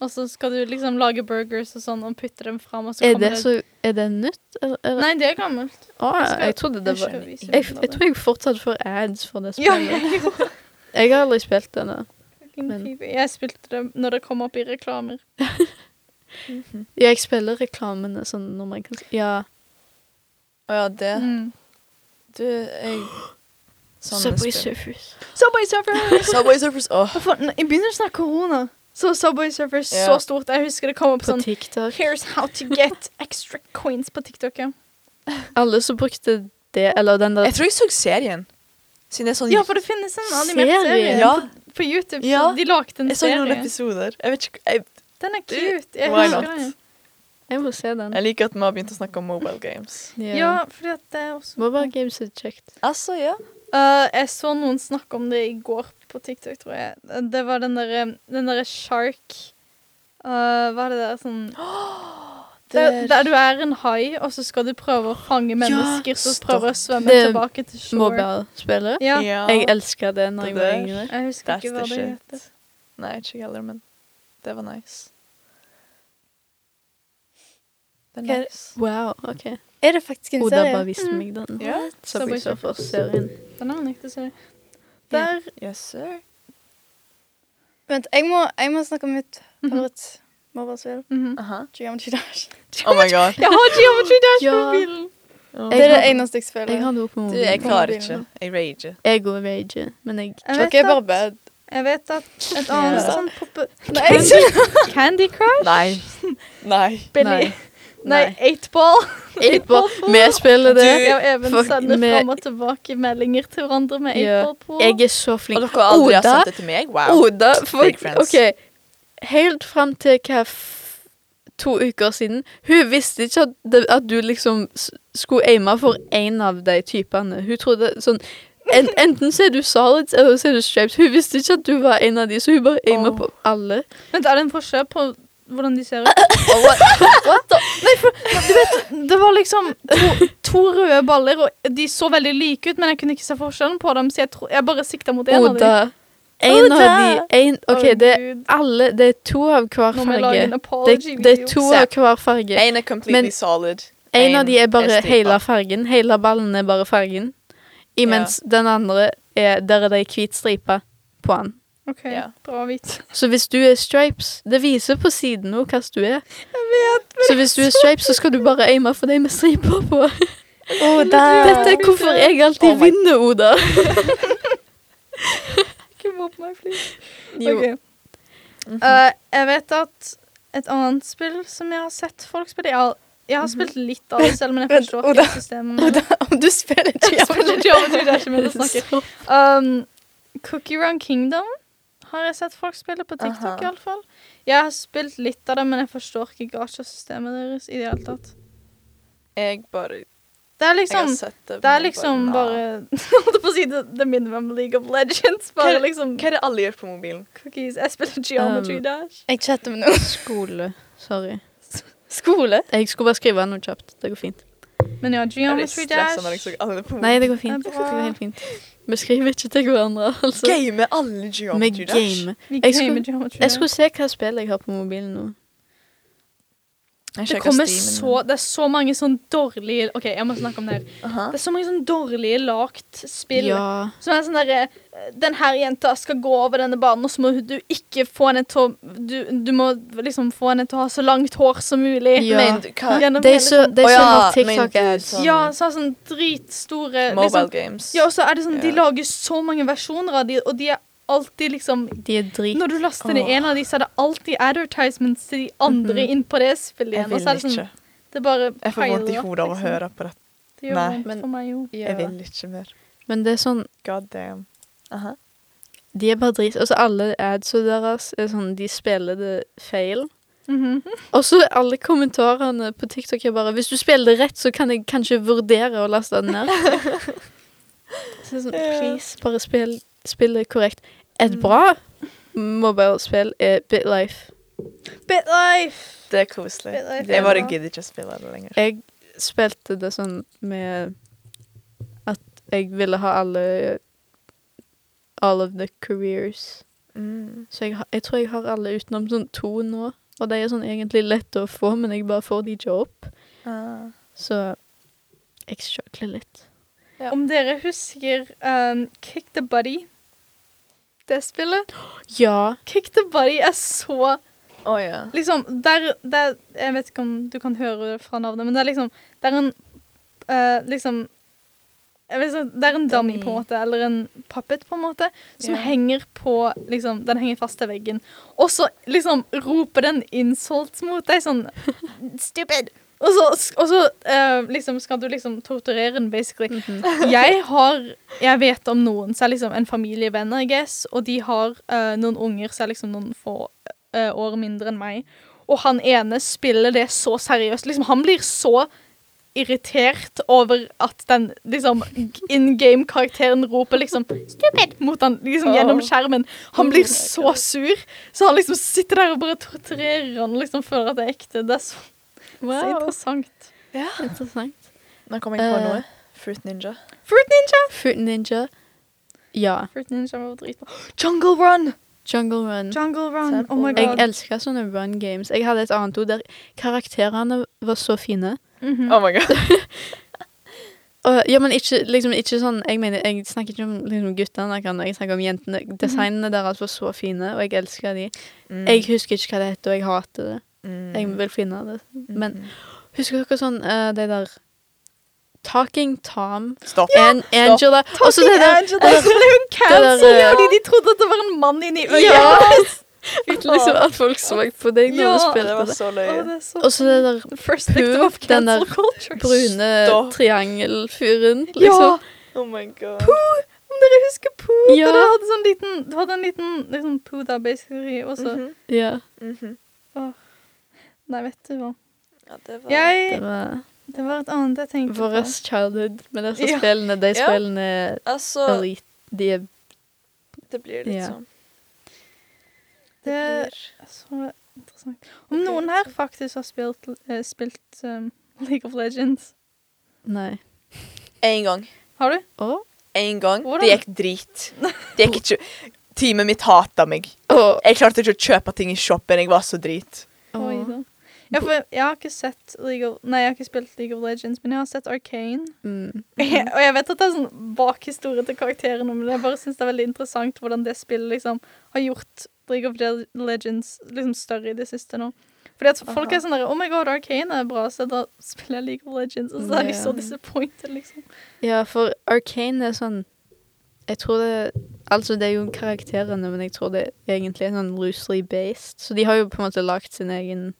Speaker 2: Og så skal du liksom lage burgers og sånn, og putte dem fram, og så
Speaker 3: Er
Speaker 2: kommer
Speaker 3: det,
Speaker 2: det...
Speaker 3: så, er det nytt? Eller, eller?
Speaker 2: Nei, det er gammelt.
Speaker 3: Å,
Speaker 2: jeg skal-
Speaker 3: jeg trodde det
Speaker 2: jeg
Speaker 3: var
Speaker 2: skal
Speaker 3: jeg,
Speaker 2: vise
Speaker 3: jeg,
Speaker 2: bilder av
Speaker 3: tror jeg fortsatt får ads for det
Speaker 2: Ja,
Speaker 3: spillet. Jeg har aldri spilt det nå.
Speaker 2: Cooking
Speaker 3: Men-
Speaker 2: Fever. Jeg spilte det når det kom opp i reklamer.
Speaker 3: Ja, jeg spiller reklamene sånn når man kan Ja.
Speaker 1: Å ja, det
Speaker 2: Mm.
Speaker 1: Du, jeg Sånne
Speaker 3: Subway
Speaker 1: spill.
Speaker 3: Surfers.
Speaker 2: Subway Surfer!
Speaker 1: Subway Surfers. Åh.
Speaker 2: Jeg begynner å snakke korona. Så Subway Surfer er
Speaker 1: Ja.
Speaker 2: så stort. Jeg husker det kom opp
Speaker 3: På
Speaker 2: sånn
Speaker 3: TikTok.
Speaker 2: Here's how to get extra coins på TikTok. Ja,
Speaker 3: Alle som brukte det, eller den der
Speaker 1: Jeg tror jeg så serien. Siden det er sånn
Speaker 2: ja for det finnes en animert
Speaker 3: Serie?
Speaker 2: serie
Speaker 1: Ja,
Speaker 2: på YouTube.
Speaker 1: Ja.
Speaker 2: Så de lagde en
Speaker 1: jeg så noen
Speaker 2: serie.
Speaker 1: episoder. Jeg vet ikke Jeg,
Speaker 2: Den er cute. Jeg
Speaker 1: Why
Speaker 2: husker
Speaker 1: not?
Speaker 2: den.
Speaker 3: Jeg må se den.
Speaker 1: jeg liker at vi har begynt å snakke om mobile games.
Speaker 2: Ja, fordi at det er også
Speaker 3: Mobile Games er kjekt.
Speaker 1: Altså, ja.
Speaker 2: Uh, Jeg så noen snakke om det i går på TikTok, tror jeg. Det var den derre den derre shark uh, Hva er det der sånn der, der du er en hai, og så skal du prøve å fange mennesker som
Speaker 1: stopp.
Speaker 2: prøver å svømme
Speaker 3: Det er
Speaker 2: tilbake til shore.
Speaker 3: Mobile-spillet.
Speaker 2: Ja.
Speaker 3: Jeg elsker det når
Speaker 1: Det
Speaker 3: jeg var
Speaker 1: der.
Speaker 3: yngre.
Speaker 2: Jeg husker
Speaker 1: That's
Speaker 2: ikke hva
Speaker 1: the
Speaker 2: det heter.
Speaker 1: shit. Nei, ikke jeg heller, men det var nice. Det
Speaker 4: Hva er
Speaker 1: er
Speaker 4: det-
Speaker 1: nice.
Speaker 3: Wow, ok.
Speaker 4: Er det faktisk en
Speaker 3: Oda bare
Speaker 4: serie?
Speaker 3: viste meg den.
Speaker 1: Ja.
Speaker 3: Subway
Speaker 2: Mm. Subway
Speaker 3: Surfers-serien.
Speaker 2: Den har jeg nektet å se.
Speaker 1: Ja.
Speaker 2: Der
Speaker 1: Yes, sir.
Speaker 4: Vent, jeg må, jeg må snakke om mitt
Speaker 2: Mhm.
Speaker 4: favoritt-mobile-spill.
Speaker 2: Mhm.
Speaker 1: Aha.
Speaker 4: Geometry Dash.
Speaker 1: Oh my god.
Speaker 2: Jeg har Geometry Dash på
Speaker 3: Ja.
Speaker 2: mobilen!
Speaker 4: Det er
Speaker 3: Jeg
Speaker 4: det
Speaker 3: har-
Speaker 4: eneste jeg
Speaker 3: Jeg
Speaker 4: spiller.
Speaker 3: har det opp på
Speaker 1: Du, jeg
Speaker 3: mobilen.
Speaker 1: klarer ikke. Jeg rager.
Speaker 3: Jeg går rage, men jeg
Speaker 2: Jeg
Speaker 4: Dere
Speaker 2: vet
Speaker 4: er bare
Speaker 2: at-
Speaker 4: bad.
Speaker 2: Jeg vet at et annet
Speaker 1: Ja.
Speaker 2: sånn poppe...
Speaker 4: Nei, jeg
Speaker 2: Candy Crush?
Speaker 1: Nei. Nei.
Speaker 2: Billy. Nei,
Speaker 3: Nei.
Speaker 2: 8-ball.
Speaker 3: Eightball. Vi spiller det.
Speaker 2: og Even
Speaker 3: fuck,
Speaker 2: sender
Speaker 3: med-
Speaker 2: fram og tilbake meldinger til hverandre med
Speaker 3: Ja.
Speaker 2: 8-ball på.
Speaker 3: Jeg er så flink.
Speaker 1: Og dere har aldri har
Speaker 3: Oda-
Speaker 1: sendt det til meg? Wow.
Speaker 3: Oda
Speaker 1: Big
Speaker 3: folk,
Speaker 1: friends.
Speaker 3: OK. Helt fram til hva f to uker siden Hun visste ikke at, det, at du liksom s- skulle aime for én av de typene. Hun trodde sånn en, Enten så er du solids, eller så er du stripes. Hun visste ikke at du var en av de, så hun bare aima
Speaker 1: Åh.
Speaker 3: på alle.
Speaker 2: Vent, er det en forskjell på hvordan de ser ut?
Speaker 1: Oh, what?
Speaker 2: Det var liksom to, to røde baller, og de så veldig like ut, men jeg kunne ikke se forskjellen på dem, så jeg, tro, jeg bare sikta mot en av dem.
Speaker 3: Oda. En av de
Speaker 4: Oda!
Speaker 3: en,
Speaker 2: Å,
Speaker 3: OK, det er
Speaker 2: Gud.
Speaker 3: alle Det er to av hver
Speaker 2: Nå må jeg lage
Speaker 3: farge.
Speaker 2: en
Speaker 3: Det,
Speaker 2: apology-video.
Speaker 3: det er to
Speaker 1: Se.
Speaker 3: av hver farge.
Speaker 1: En er completely
Speaker 3: Men-
Speaker 1: solid.
Speaker 3: En av de er bare
Speaker 1: stripa.
Speaker 3: hele fargen. Hele ballen er bare fargen. Imens den andre er der er det ei hvit stripe på den.
Speaker 2: Ok,
Speaker 1: Ja.
Speaker 2: bra å vite.
Speaker 3: Så hvis du er stripes Det viser på siden nå hva du er. Så hvis du er stripes, så skal du bare aime for de med striper på.
Speaker 4: Oda.
Speaker 3: Dette er hvorfor jeg alltid
Speaker 1: Oh my-
Speaker 3: vinner, Oda.
Speaker 2: Ikke mobb meg, please.
Speaker 3: Jo.
Speaker 2: Ok.
Speaker 1: Mm-hmm.
Speaker 2: Eh, jeg vet at et annet spill som jeg har sett folk spille Jeg har, jeg har spilt litt av det selv, men jeg
Speaker 4: Vent,
Speaker 2: forstår
Speaker 4: Oda.
Speaker 2: ikke systemet.
Speaker 4: Oda, om du spiller
Speaker 2: Jeg
Speaker 4: Geometry
Speaker 2: spiller Geometry Dash imens jeg snakker.
Speaker 3: Så-
Speaker 2: Um, Cookie Run Kingdom har jeg sett folk spille på
Speaker 1: Aha.
Speaker 2: TikTok, i alle fall Jeg har spilt litt av det, men jeg forstår ikke gacha-systemet deres i det hele tatt.
Speaker 1: Jeg bare
Speaker 2: Det er
Speaker 1: Jeg har
Speaker 2: liksom,
Speaker 1: sett det.
Speaker 2: det er
Speaker 1: men
Speaker 2: liksom bare
Speaker 1: nah.
Speaker 2: Holdt jeg på å si det, det minner meg om League of Legends. Bare
Speaker 1: Hva-
Speaker 2: liksom
Speaker 1: Hva er det alle gjør på mobilen?
Speaker 2: cookies. Jeg spiller Geometry
Speaker 3: Um,
Speaker 2: Dash.
Speaker 4: Jeg chatter med noen.
Speaker 3: Skole. Sorry.
Speaker 4: Skole?
Speaker 3: Jeg skulle bare skrive noe kjapt. Det går fint.
Speaker 2: Men ja,
Speaker 1: Jeg ble
Speaker 2: Geometry
Speaker 1: stressa når jeg
Speaker 2: Dash.
Speaker 1: så alle på
Speaker 3: Nei,
Speaker 1: mobilen.
Speaker 3: det går fint.
Speaker 2: Det
Speaker 3: Det
Speaker 2: er bra.
Speaker 3: går helt fint. Vi skriver ikke til hverandre, altså.
Speaker 1: Game alle
Speaker 3: Vi
Speaker 1: Geometry Dash.
Speaker 3: gamer.
Speaker 2: Vi
Speaker 3: Jeg
Speaker 2: gamer
Speaker 3: skulle-
Speaker 2: Geometry
Speaker 3: Jeg
Speaker 2: Dash.
Speaker 3: skulle se hva spill jeg har på mobilen nå.
Speaker 1: Jeg
Speaker 2: Det
Speaker 1: sjekker
Speaker 2: kommer
Speaker 1: Steamen
Speaker 2: så Det er så mange sånn dårlige OK, jeg må snakke om det her.
Speaker 1: min. Aha.
Speaker 2: Det er så mange sånn dårlige lagt spill.
Speaker 3: Ja.
Speaker 2: Som er sånn derre Den her jenta skal gå over denne banen, og så må du ikke få henne til å du, du må liksom få henne til å ha så langt hår som mulig.
Speaker 3: Ja.
Speaker 1: Men hva
Speaker 2: Gjennom
Speaker 3: De
Speaker 2: hele
Speaker 3: som
Speaker 2: sånn-
Speaker 3: de
Speaker 1: Å
Speaker 3: som
Speaker 1: ja,
Speaker 3: har
Speaker 1: men du,
Speaker 3: TikTok-ads.
Speaker 1: sånn-
Speaker 2: Ja, så har sånn dritstore
Speaker 1: Mobile
Speaker 2: liksom,
Speaker 1: games.
Speaker 2: Ja, og så er det sånn De
Speaker 1: Ja.
Speaker 2: lager så mange versjoner av de, og de er alltid liksom
Speaker 3: De er drit.
Speaker 2: Når du laster ned
Speaker 3: Åh.
Speaker 2: en av de, så er det alltid advertisements til de andre
Speaker 3: Mhm.
Speaker 2: inn på det spillet
Speaker 1: jeg
Speaker 2: igjen. Og
Speaker 1: vil
Speaker 2: så er det
Speaker 1: ikke.
Speaker 2: sånn Det er bare
Speaker 1: Jeg får vondt i
Speaker 2: pilot,
Speaker 1: hodet av å
Speaker 2: liksom.
Speaker 1: høre på dette.
Speaker 2: Det gjør
Speaker 1: Nei,
Speaker 2: vondt
Speaker 3: men-
Speaker 2: for meg jo.
Speaker 1: Jeg vil ikke mer.
Speaker 3: Men det er sånn
Speaker 1: God damn. Aha.
Speaker 3: De er bare drit. Altså, alle adsa deres er sånn De spiller det feil.
Speaker 2: Mhm.
Speaker 3: Og så alle kommentarene på TikTok er bare Hvis du spiller det rett, så kan jeg kanskje vurdere å laste den ned. så det er sånn
Speaker 1: Ja.
Speaker 3: Please, bare spill, spill det korrekt. Et
Speaker 1: Mm.
Speaker 3: bra mobilspill er BitLife.
Speaker 2: Bitlife!
Speaker 1: Det er koselig.
Speaker 2: Det er
Speaker 1: Jeg bare
Speaker 2: bra.
Speaker 1: gidder ikke å spille det lenger.
Speaker 3: Jeg spilte det sånn med at jeg ville ha alle All of the careers.
Speaker 1: Mm.
Speaker 3: Så jeg, har- jeg tror jeg har alle utenom sånn to nå. Og de er sånn egentlig lette å få, men jeg bare får de ikke opp.
Speaker 1: Ah.
Speaker 3: Så jeg struggler litt.
Speaker 1: Ja.
Speaker 2: Om dere husker um, Kick the Buddy, det spillet
Speaker 3: Ja.
Speaker 2: Kick the Buddy er så
Speaker 1: Å ja.
Speaker 2: Liksom, der, der Jeg vet ikke om du kan høre det fra navnet, men det er liksom Det er en eh, Liksom jeg vet ikke, Det er en dummy, på en måte, eller en puppet, på en måte, som
Speaker 1: Ja.
Speaker 2: henger på liksom, Den henger fast til veggen. Og så liksom roper den insults mot deg, sånn Stupid! Og så, og så eh, liksom skal du liksom torturere den, basically. Jeg har Jeg vet om noen som er liksom en familievenn, I guess, og de har eh, noen unger som er liksom noen få eh, år mindre enn meg. Og han ene spiller det så seriøst. Liksom, han blir så irritert over at den liksom in game-karakteren roper liksom 'stupid' mot han liksom gjennom
Speaker 1: Åh.
Speaker 2: skjermen. Han blir så sur, så han liksom sitter der og bare torturerer han og liksom føler at det er ekte. Det er så, så interessant.
Speaker 3: Interessant.
Speaker 1: Nå kom jeg på
Speaker 3: Eh.
Speaker 1: noe. Fruit Ninja.
Speaker 2: Fruit Ninja!
Speaker 3: Fruit Ninja. Ja.
Speaker 2: Fruit Ninja var dritbra. Jungle Run!
Speaker 3: Jungle Run.
Speaker 2: Jungle Run.
Speaker 1: Temple
Speaker 2: Oh my
Speaker 1: Run.
Speaker 3: Jeg
Speaker 2: god.
Speaker 3: elsker sånne run games. Jeg hadde et annet ord der karakterene var så fine.
Speaker 2: Mhm.
Speaker 1: Oh my god.
Speaker 3: Øh, ja, men ikke, liksom, ikke sånn Jeg mener, jeg snakker ikke om liksom, guttene, kan, jeg snakker om jentene.
Speaker 1: Mhm.
Speaker 3: Designene deres var så fine, og jeg elsker de.
Speaker 1: Mm.
Speaker 3: Jeg husker ikke hva det heter, og jeg hater det.
Speaker 1: Mm.
Speaker 3: Jeg vil finne det. Men
Speaker 1: Mm.
Speaker 3: husker dere sånn eh, det der Talking Tom
Speaker 1: Stopp.
Speaker 3: and Angela Og så det der
Speaker 1: Angela.
Speaker 3: det der-
Speaker 2: Cancel
Speaker 3: Det der, eh,
Speaker 2: fordi de trodde at det var en mann inni øyet.
Speaker 3: Ja! liksom at folk smakte på deg når
Speaker 2: Ja,
Speaker 3: du
Speaker 1: Det
Speaker 3: spilte
Speaker 1: var
Speaker 3: det.
Speaker 1: så
Speaker 2: Å,
Speaker 1: løye.
Speaker 2: det er så
Speaker 3: Og så det der
Speaker 2: The First victim of
Speaker 3: Puk, den
Speaker 2: cancel
Speaker 3: der
Speaker 2: culture.
Speaker 3: brune
Speaker 1: Stopp.
Speaker 3: triangelfyren,
Speaker 2: Ja,
Speaker 3: liksom.
Speaker 1: Oh my god.
Speaker 2: om dere husker Pooh.
Speaker 3: Ja.
Speaker 2: Ja. Det hadde sånn liten, det hadde en liten liksom, Pooh der, basically. Og så
Speaker 1: Mhm.
Speaker 3: Ja.
Speaker 1: Mhm.
Speaker 2: Nei, vet du hva.
Speaker 1: Ja, det var
Speaker 3: Det
Speaker 2: Jeg
Speaker 3: var
Speaker 2: Det var et annet jeg tenkte
Speaker 3: vår childhood med disse
Speaker 1: Ja.
Speaker 3: spillene. De
Speaker 1: Ja.
Speaker 3: spillene er
Speaker 1: Altså,
Speaker 3: elite. De er
Speaker 1: det blir litt
Speaker 3: Ja.
Speaker 1: sånn.
Speaker 2: på. Det
Speaker 1: blir-
Speaker 2: er så interessant. Om noen her faktisk har spilt, eh, spilt um, League of Legends
Speaker 3: Nei.
Speaker 1: En gang.
Speaker 2: Har du?
Speaker 3: Og
Speaker 1: En gang.
Speaker 2: Hvordan?
Speaker 1: Det gikk drit. Det gikk ikke Teamet mitt hata meg.
Speaker 3: Åh.
Speaker 1: Jeg klarte ikke å kjøpe ting i shoppen. Jeg var så drit.
Speaker 2: Oi da. Ja, for jeg har ikke sett League of, Nei, jeg har ikke spilt League of Legends, men jeg har sett Arcane.
Speaker 3: Mm.
Speaker 2: og jeg vet at det er sånn bakhistorie til karakterene, men jeg bare syns det er veldig interessant hvordan det spillet liksom har gjort League of Le- Legends liksom større i det siste nå. Fordi at folk
Speaker 1: Aha.
Speaker 2: er sånn der Oh my god, Arcane er bra, så da spiller jeg League of Legends. Og så er de
Speaker 3: Ja.
Speaker 2: så disappointed, liksom.
Speaker 3: Ja, for Arcane er sånn Jeg tror det Altså, det er jo karakterene, men jeg tror det egentlig er sånn loosely based. Så de har jo på en måte lagd sin egen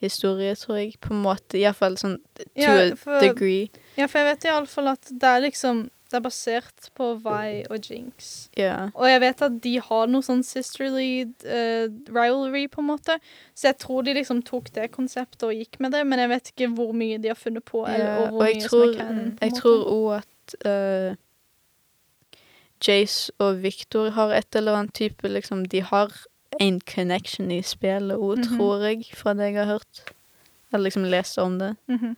Speaker 3: historie, tror jeg. På en måte. Iallfall sånn to
Speaker 2: Ja,
Speaker 3: a
Speaker 2: for-
Speaker 3: degree.
Speaker 2: Ja, for jeg vet iallfall at det er liksom Det er basert på Vi og Jinx.
Speaker 3: Ja.
Speaker 2: Og jeg vet at de har noe sånn sisterly eh, rivalry, på en måte. Så jeg tror de liksom tok det konseptet og gikk med det, men jeg vet ikke hvor mye de har funnet på.
Speaker 3: Ja,
Speaker 2: Eller, og
Speaker 3: og
Speaker 2: hvor
Speaker 3: jeg
Speaker 2: mye
Speaker 3: tror-
Speaker 2: som er canon, på en
Speaker 3: Jeg
Speaker 2: måte.
Speaker 3: tror òg at eh, Jace og Victor har et eller annet type liksom, De har en connection i spillet òg,
Speaker 2: Mhm.
Speaker 3: tror jeg, fra det jeg har hørt. Eller liksom lest om det.
Speaker 2: Mhm.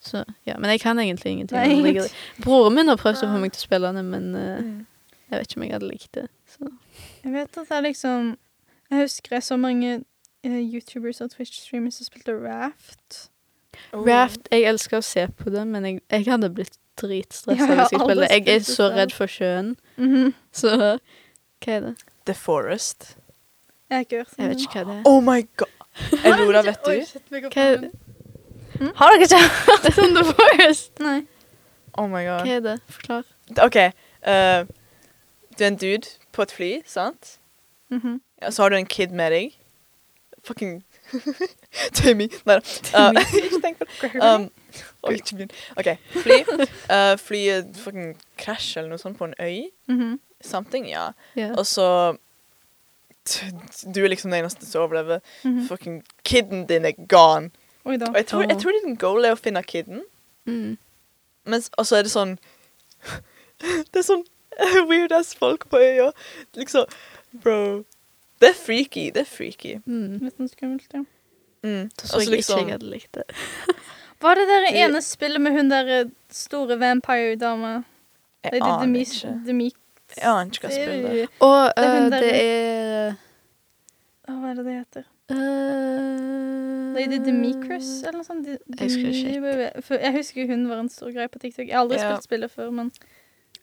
Speaker 3: Så, ja, men jeg kan egentlig ingenting.
Speaker 2: Nei,
Speaker 3: om League of
Speaker 2: ingenting.
Speaker 3: Broren min har prøvd å
Speaker 1: Ah.
Speaker 3: få meg til å spille det, men eh, jeg vet ikke om jeg hadde likt det. Så.
Speaker 2: Jeg vet at det er liksom Jeg husker jeg så mange eh, YouTubers og Twitch-streamers som spilte Raft.
Speaker 1: Oh.
Speaker 3: Raft, jeg elsker å se på det, men jeg, jeg hadde blitt dritstressa
Speaker 2: Ja, jeg
Speaker 3: hvis jeg
Speaker 2: har
Speaker 3: spilte det.
Speaker 2: aldri
Speaker 3: Jeg er
Speaker 2: spilt det
Speaker 3: så
Speaker 2: selv.
Speaker 3: redd for sjøen,
Speaker 2: Mhm.
Speaker 3: så hva er det?
Speaker 1: The Forest.
Speaker 2: Jeg har ikke hørt om
Speaker 3: Jeg vet
Speaker 2: det.
Speaker 3: ikke hva det er.
Speaker 1: Oh my god. Aurora, vet du?
Speaker 3: Hva er det?
Speaker 2: Mm?
Speaker 3: Har dere ikke hørt om The Forest?
Speaker 2: Nei.
Speaker 1: Oh my god.
Speaker 3: Hva er det? Forklar.
Speaker 1: OK. eh, du er en dude på et fly, sant?
Speaker 2: Mhm.
Speaker 1: Ja, så har du en kid med deg. Fucking Timmy. Nei da.
Speaker 3: Ah.
Speaker 1: Eh, ikke tenk på det. Um, oi, ikke begynn. OK. Fly. Eh, flyet fucking krasjer eller noe sånt på en øy.
Speaker 2: Mhm.
Speaker 1: Something, ja.
Speaker 3: Ja.
Speaker 1: Og så t- t- Du er liksom den eneste som overlever.
Speaker 2: Mhm.
Speaker 1: Fucking kiden din er gone.
Speaker 2: Oi da.
Speaker 1: Og jeg tror, jeg tror din goal er å finne kiden.
Speaker 3: Mm.
Speaker 1: Mens, og så er det sånn Det er sånn weird ass folk på øya. Liksom Bro. Det er freaky. Det er freaky.
Speaker 3: Mm.
Speaker 2: Litt sånn skummelt, ja.
Speaker 1: Mm.
Speaker 3: Da
Speaker 1: Og
Speaker 3: så
Speaker 1: så
Speaker 3: jeg ikke jeg hadde likt det.
Speaker 2: Var det der
Speaker 1: De-
Speaker 2: ene spillet med hun der eh, store vampire-dama?
Speaker 1: Jeg
Speaker 2: Lady
Speaker 1: aner
Speaker 2: Demis-
Speaker 1: ikke.
Speaker 2: Demi-
Speaker 1: Jeg aner ikke hva spillet er.
Speaker 3: Og
Speaker 2: Det er hun
Speaker 3: eh,
Speaker 2: der-
Speaker 3: det er
Speaker 2: Å, Hva er det det heter?
Speaker 3: eh,
Speaker 2: Lady Demicrus,
Speaker 1: Mm.
Speaker 2: eller noe sånt? De-
Speaker 3: Jeg skal
Speaker 2: Demi- For Jeg husker hun var en stor greie på TikTok. Jeg har aldri
Speaker 1: Ja.
Speaker 2: spilt spillet før, men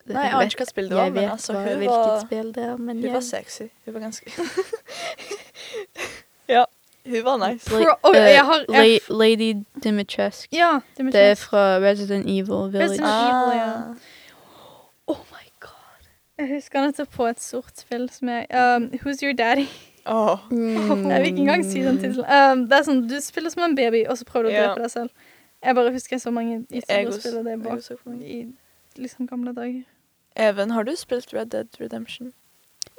Speaker 3: Det-
Speaker 1: Nei, jeg aner ikke hva spillet det var,
Speaker 3: jeg
Speaker 1: men
Speaker 3: vet
Speaker 1: altså,
Speaker 3: hva-
Speaker 1: hun
Speaker 3: hvilket
Speaker 1: var-
Speaker 3: spill det er, men
Speaker 1: Hun
Speaker 3: jeg
Speaker 1: var sexy. Hun var ganske Ja. Hun var nice.
Speaker 3: Bla-
Speaker 2: Pro, Oi,
Speaker 3: eh,
Speaker 2: Oh, jeg har
Speaker 3: La
Speaker 2: jeg,
Speaker 3: Lady Dimitrescu.
Speaker 2: Ja,
Speaker 3: Det er
Speaker 2: Demetrius.
Speaker 3: fra Resident Evil Village.
Speaker 2: Resident- Oh my god. Jeg husker han etter på et sort spill som jeg um, Who's Your Daddy?
Speaker 1: Åh.
Speaker 3: Mm.
Speaker 2: Jeg vil ikke engang si den tittelen. Um, det er sånn, du spiller som en baby, og så prøver du å
Speaker 1: Ja.
Speaker 2: drepe deg selv. Jeg bare husker så mange
Speaker 1: Jeg
Speaker 2: youtubere
Speaker 1: også-
Speaker 2: spiller det
Speaker 1: jeg
Speaker 2: bak
Speaker 1: også for meg.
Speaker 2: i liksom gamle dager.
Speaker 1: Even, har du spilt Red Dead Redemption?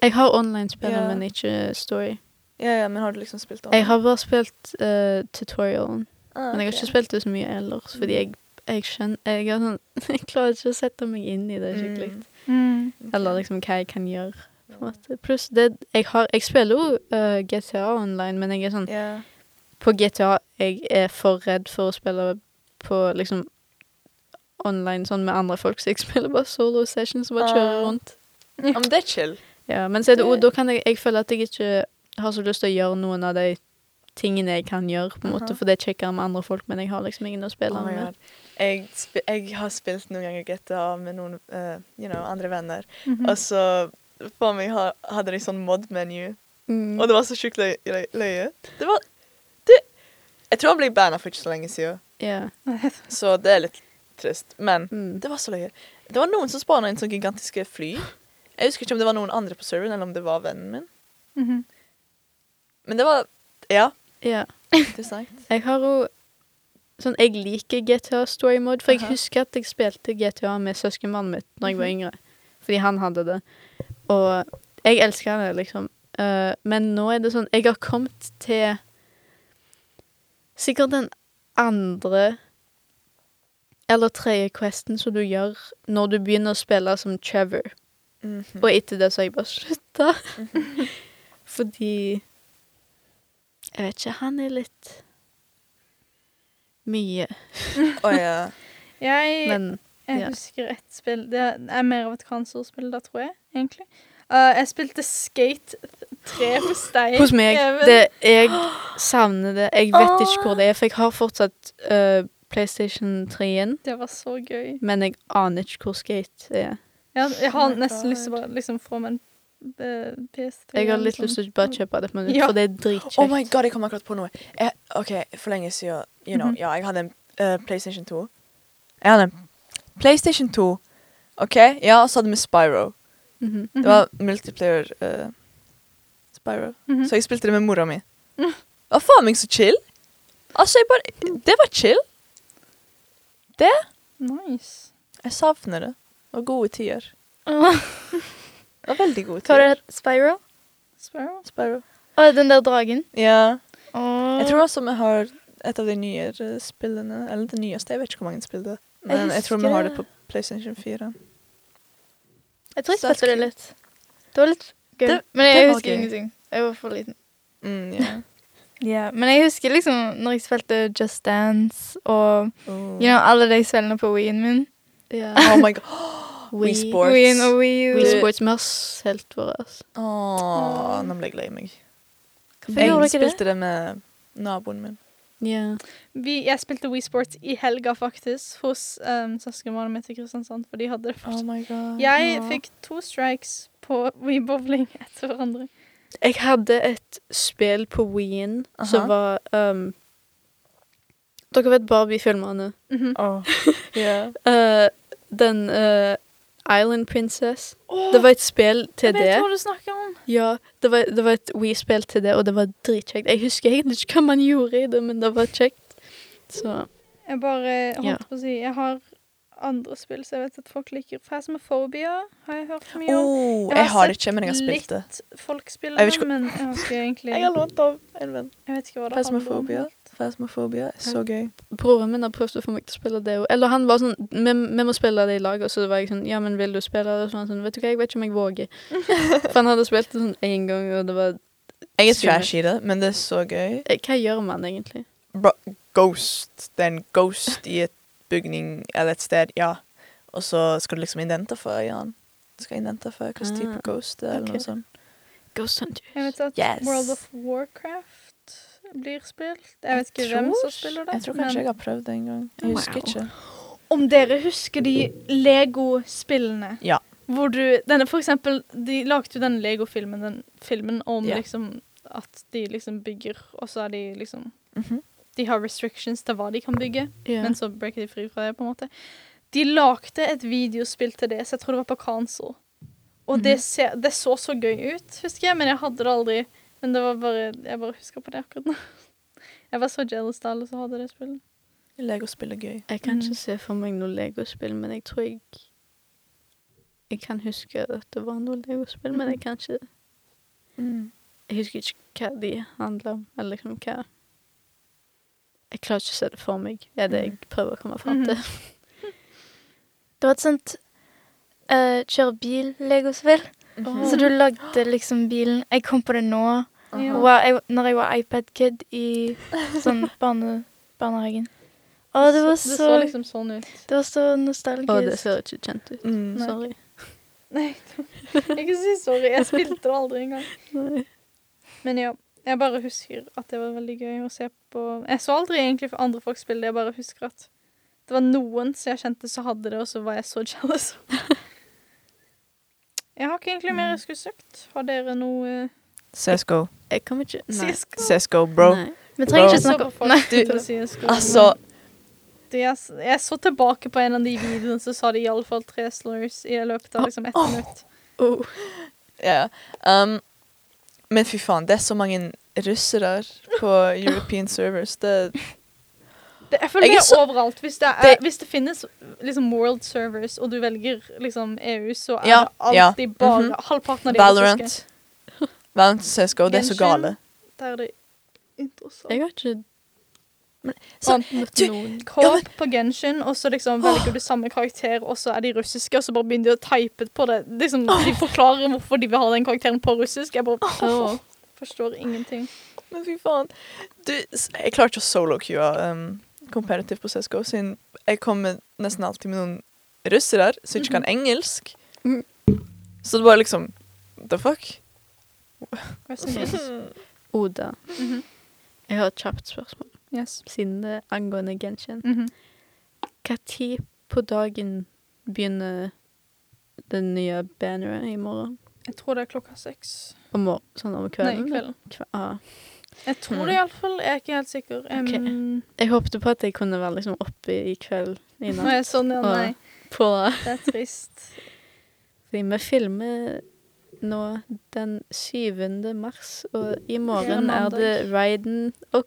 Speaker 3: Jeg har online-spillet,
Speaker 1: Ja.
Speaker 3: men ikke story.
Speaker 1: Ja, ja, men har du liksom spilt
Speaker 3: Jeg har bare spilt eh, tutorialen,
Speaker 1: Ah,
Speaker 3: men jeg har
Speaker 1: ok.
Speaker 3: ikke spilt det så mye ellers, fordi jeg, jeg skjønner jeg, har sånn, jeg klarer ikke å sette meg inn i det skikkelig.
Speaker 1: Mm. ok.
Speaker 3: Eller liksom hva jeg kan gjøre, på en måte. Pluss det Jeg, har, jeg spiller jo eh, GTA online, men jeg er sånn
Speaker 1: Ja.
Speaker 3: På GTA jeg er for redd for å spille på liksom online sånn med andre folk, så jeg spiller bare solo sessions og bare kjører
Speaker 1: Ah.
Speaker 3: rundt.
Speaker 1: ja, men det er chill.
Speaker 3: Ja, men så er det,
Speaker 1: Det-
Speaker 3: også- da kan jeg, jeg føler at jeg ikke har så lyst til å gjøre noen av de tingene jeg kan gjøre, på en måte,
Speaker 2: Aha.
Speaker 3: for det sjekker jeg med andre folk, men jeg har liksom ingen å spille
Speaker 1: Oh my
Speaker 3: med.
Speaker 1: God. jeg, spi- jeg har spilt noen ganger GTA med noen eh, you know, andre venner.
Speaker 2: Mhm.
Speaker 3: Mm.
Speaker 1: Og så på meg ha- hadde de sånn mod-menu,
Speaker 3: Mm.
Speaker 1: og det var så sjukt løy- løy- løye. Det var det, Jeg tror han ble banna for ikke så lenge siden,
Speaker 3: Ja.
Speaker 1: så det er litt trist. Men
Speaker 3: Mm.
Speaker 1: det var så løye. Det var noen som spana inn sånne gigantiske fly. Jeg husker ikke om det var noen andre på serveren, eller om det var vennen min.
Speaker 2: Mhm.
Speaker 1: Men det var Ja,
Speaker 3: ja.
Speaker 1: interessant.
Speaker 3: Jeg har jo Sånn, jeg liker GTA Story Mode, for jeg
Speaker 1: Aha.
Speaker 3: husker at jeg spilte GTA med søskenmannen mitt når jeg var yngre. Fordi han hadde det. Og jeg elsker det, liksom. Eh, men nå er det sånn Jeg har kommet til sikkert den andre eller tredje questen som du gjør når du begynner å spille som Trevor.
Speaker 1: Mhm.
Speaker 3: Mm-hmm. Og etter det så har jeg bare slutta. Fordi Jeg vet ikke, han er litt mye,
Speaker 1: Å ja.
Speaker 2: Jeg
Speaker 3: men
Speaker 2: Jeg
Speaker 3: Ja.
Speaker 2: husker et spill Det er mer av et kansorspill da, tror jeg, egentlig. Uh, jeg spilte Skate 3 hos deg.
Speaker 3: Hos meg
Speaker 2: Even.
Speaker 3: det, Jeg savner det. Jeg vet ikke hvor det er, for jeg har fortsatt eh, PlayStation 3-en,
Speaker 2: Det var så gøy.
Speaker 3: men jeg aner ikke hvor skate er.
Speaker 2: Jeg, jeg har
Speaker 1: Oh my
Speaker 2: nesten lyst til å
Speaker 1: God.
Speaker 2: bare liksom få meg en eh, PS3.
Speaker 3: Jeg har litt
Speaker 2: liksom.
Speaker 3: lyst til å bare kjøpe det på nytt,
Speaker 2: Ja.
Speaker 3: for det er
Speaker 1: Oh my
Speaker 3: dritkjekt.
Speaker 1: god, jeg kom akkurat på noe. Jeg, ok, For lenge siden you know,
Speaker 2: Mhm.
Speaker 1: ja, jeg hadde en eh, PlayStation 2. Jeg hadde en PlayStation 2, OK? Ja, og så hadde vi Spyro.
Speaker 3: Mhm.
Speaker 1: Det var multiplayer eh, Spyro.
Speaker 2: Mhm.
Speaker 1: Så jeg spilte det med mora mi. Det var faen meg så chill. Altså, jeg bare Det var chill.
Speaker 2: Nice.
Speaker 1: Jeg savner det. Det var gode tider. Det var veldig gode
Speaker 4: Hva var
Speaker 1: tider.
Speaker 4: det? Spiral?
Speaker 2: Sparrow.
Speaker 1: Spyro.
Speaker 4: Å, den der dragen?
Speaker 1: Ja.
Speaker 4: Åh.
Speaker 1: Jeg tror også vi har et av de nyere spillene. Eller det nyeste, jeg vet ikke hvor mange spill det er. Men jeg, tror vi
Speaker 4: husker
Speaker 1: har
Speaker 4: det.
Speaker 1: det på PlayStation 4.
Speaker 4: Jeg tror jeg
Speaker 1: Sørsk.
Speaker 4: spilte det litt. Det var litt gøy.
Speaker 1: Det-
Speaker 4: men jeg
Speaker 1: det var
Speaker 4: husker
Speaker 1: gøy.
Speaker 4: ingenting. Jeg var for liten.
Speaker 1: Mm, ja.
Speaker 4: Ja, Men jeg husker liksom når jeg spilte Just Dance og
Speaker 1: Oh.
Speaker 4: you know, alle de spillene på Wii-en min.
Speaker 3: Ja.
Speaker 1: oh my god. Wii
Speaker 3: Wii-
Speaker 1: Sports.
Speaker 4: Wii-en og Wii U.
Speaker 3: Wii Sports vi har solgt vår, altså.
Speaker 1: Åh, nå ble jeg lei meg.
Speaker 4: Hvorfor gjorde
Speaker 1: Jeg
Speaker 4: dere det?
Speaker 1: spilte det med naboen min.
Speaker 3: Ja.
Speaker 2: Vi, jeg spilte Wii Sports i helga, faktisk, hos um, søskenbarnet mitt i Kristiansand, for de hadde det
Speaker 1: Oh
Speaker 2: fortsatt.
Speaker 1: my god.
Speaker 2: Jeg fikk to strikes på Wii Bowling etter hverandre.
Speaker 3: Jeg hadde et spill på Wien
Speaker 1: Aha.
Speaker 3: som var um, Dere vet Barbie-filmene?
Speaker 2: Mhm.
Speaker 1: Åh. Ja.
Speaker 3: Eh, den eh, Island Princess. Det var et spill til
Speaker 2: Jeg vet
Speaker 3: det.
Speaker 2: hva du snakker om.
Speaker 3: Ja, det var, det var et Wii-spill til det, og det var dritkjekt. Jeg husker egentlig ikke hva man gjorde i det, men det var kjekt. Så
Speaker 2: Jeg bare holdt
Speaker 3: Ja.
Speaker 2: på å si Jeg har andre spill som jeg vet at folk liker. Phasmophobia har jeg hørt mye om.
Speaker 1: Oh,
Speaker 2: Jeg
Speaker 1: jeg
Speaker 2: har
Speaker 1: har det
Speaker 2: sett
Speaker 1: ikke, men jeg har spilt det.
Speaker 2: Litt folk spiller
Speaker 1: Jeg vet
Speaker 2: det,
Speaker 1: ikke hvor-
Speaker 2: men jeg husker egentlig
Speaker 1: Jeg har lånt av en venn.
Speaker 2: Jeg vet ikke hva det
Speaker 1: Phasmophobia. Phasmophobia er så gøy.
Speaker 3: broren min har prøvd å få meg til å spille det òg. Eller han var sånn vi, 'Vi må spille det i lag', og så var jeg sånn 'Ja, men vil du spille det?' Og så var han sånn 'Vet du hva, jeg vet ikke om jeg våger'. For han hadde spilt det sånn én gang, og det var
Speaker 1: Jeg er
Speaker 3: Skummelt.
Speaker 1: trash i det, men det er så gøy.
Speaker 3: eh, Hva gjør man egentlig?
Speaker 1: Bro, ghost. Det er en ghost i et bygning eller et sted, ja. Og så skal du liksom identifere han. Du skal identifere hva slags type
Speaker 3: Ah,
Speaker 1: ghost det er, eller
Speaker 3: ok.
Speaker 1: noe sånt.
Speaker 3: Ghost Hunter.
Speaker 2: Jeg vet at
Speaker 1: Yes.
Speaker 2: World of Warcraft blir spilt. Jeg vet ikke
Speaker 3: Jeg
Speaker 2: hvem som
Speaker 3: tror-
Speaker 2: spiller det.
Speaker 1: Jeg tror kanskje jeg har prøvd det en gang. Jeg husker
Speaker 3: Wow.
Speaker 1: ikke.
Speaker 2: Om dere husker de Lego-spillene?
Speaker 1: Ja.
Speaker 2: Hvor du denne, For eksempel, de lagde jo den Lego-filmen den filmen om
Speaker 1: Ja.
Speaker 2: liksom at de liksom bygger, og så er de liksom
Speaker 1: Mhm.
Speaker 2: De har restrictions til hva de kan bygge,
Speaker 3: Ja.
Speaker 2: men så breaker de fri fra det, på en måte. De lagde et videospill til det, så jeg tror det var på Cancel. Og det, ser- det så så gøy ut, husker jeg, men jeg hadde det aldri. Men det var bare, jeg bare husker på det akkurat nå. Jeg var så jealous da alle som hadde det spillet.
Speaker 1: Legospill er gøy.
Speaker 3: Jeg kan
Speaker 2: Mm.
Speaker 3: ikke se for meg noe legospill, men jeg tror jeg Jeg kan huske at det var noe legospill, men jeg kan ikke Jeg husker ikke hva de handler om, eller liksom hva Jeg klarer ikke å se det for meg, er det jeg prøver å komme fram til.
Speaker 4: Det var et sånt uh, kjøre bil-legospill.
Speaker 2: Mhm.
Speaker 4: Så du lagde liksom bilen Jeg kom på det nå.
Speaker 1: Mhm.
Speaker 2: Ja.
Speaker 4: Og var- jeg, når jeg var iPad-kid i sånn barne, barnehagen. Å, det var
Speaker 2: Så-
Speaker 4: så,
Speaker 2: det så liksom sånn ut.
Speaker 4: det var så
Speaker 3: Å,
Speaker 4: nostalgisk.
Speaker 3: det ser ikke kjent ut.
Speaker 1: Mm.
Speaker 2: Nei.
Speaker 3: Sorry.
Speaker 2: Nei, jeg kan si sorry. Jeg spilte det aldri engang. Men ja. Jeg bare husker at det var veldig gøy å se på Jeg så aldri egentlig for andre folk spille det, jeg bare husker at det var noen som jeg kjente som hadde det, og så var jeg så jealous. jeg har ikke egentlig mer jeg skulle søkt. Har dere noe eh,
Speaker 1: CSGO.
Speaker 3: Jeg kommer ikke Nei.
Speaker 2: CS:GO?
Speaker 1: CSGO, bro.
Speaker 3: Nei.
Speaker 4: Vi trenger ikke
Speaker 2: Jeg så
Speaker 4: snakke
Speaker 2: på
Speaker 4: om
Speaker 2: folk
Speaker 4: Nei.
Speaker 1: du-
Speaker 2: til CS:GO,
Speaker 1: Altså,
Speaker 2: Det jeg, s- jeg så tilbake på en av de videoene, så sa de iallfall tre slurs i løpet av liksom ett minutt.
Speaker 1: ja. Um, men fy faen, det er så mange russere på European servers. Det,
Speaker 2: Det, jeg føler
Speaker 1: Jeg er
Speaker 2: det
Speaker 1: så-
Speaker 2: er overalt. Hvis det, er,
Speaker 1: Det-
Speaker 2: hvis det finnes liksom world servers, og du velger liksom EU, så er
Speaker 1: Ja, Mhm.
Speaker 2: det alltid bare halvparten av de russiske.
Speaker 1: Valorant. Valorant CSGO, det er så
Speaker 2: Genshin.
Speaker 1: gale.
Speaker 2: Der er det interessant.
Speaker 3: Jeg har ikke
Speaker 2: Så-
Speaker 3: Annet enn at
Speaker 1: du-
Speaker 3: noen
Speaker 1: Ja,
Speaker 2: Co-op
Speaker 1: men-
Speaker 2: på Genshin, og så liksom velger du samme karakter, og så er de russiske, og så bare begynner de å type på det. Liksom, de forklarer hvorfor de vil ha den karakteren på russisk. Jeg bare
Speaker 3: Åh.
Speaker 2: forstår ingenting.
Speaker 1: Men fy faen. Du, s- jeg klarer ikke å solo-queue um, comparative på CSGO, siden jeg kommer nesten alltid med noen russere som ikke kan engelsk.
Speaker 3: Mhm.
Speaker 1: Så det var liksom The fuck?
Speaker 2: Rest in peace.
Speaker 3: Oda.
Speaker 2: Mhm.
Speaker 3: Jeg har et kjapt spørsmål,
Speaker 2: Yes.
Speaker 3: siden det er angående Genshin.
Speaker 2: Mhm.
Speaker 3: Hva tid på dagen begynner det nye banneret i morgen?
Speaker 2: Jeg tror det er klokka seks.
Speaker 3: Om, mor- sånn om
Speaker 2: Nei,
Speaker 3: kvelden?
Speaker 2: kvelden.
Speaker 3: Kve- ah.
Speaker 2: Jeg
Speaker 1: Mhm.
Speaker 2: tror det iallfall. Jeg er ikke helt sikker. Um,
Speaker 3: Ok. Jeg håpte på at jeg kunne være liksom oppe i kveld
Speaker 2: Nå er
Speaker 3: i natt.
Speaker 2: jeg sånn, ja, nei.
Speaker 3: På,
Speaker 2: Det er trist.
Speaker 3: fordi vi filmer nå den 7. mars, og i morgen er
Speaker 2: mandag.
Speaker 3: det Ryden og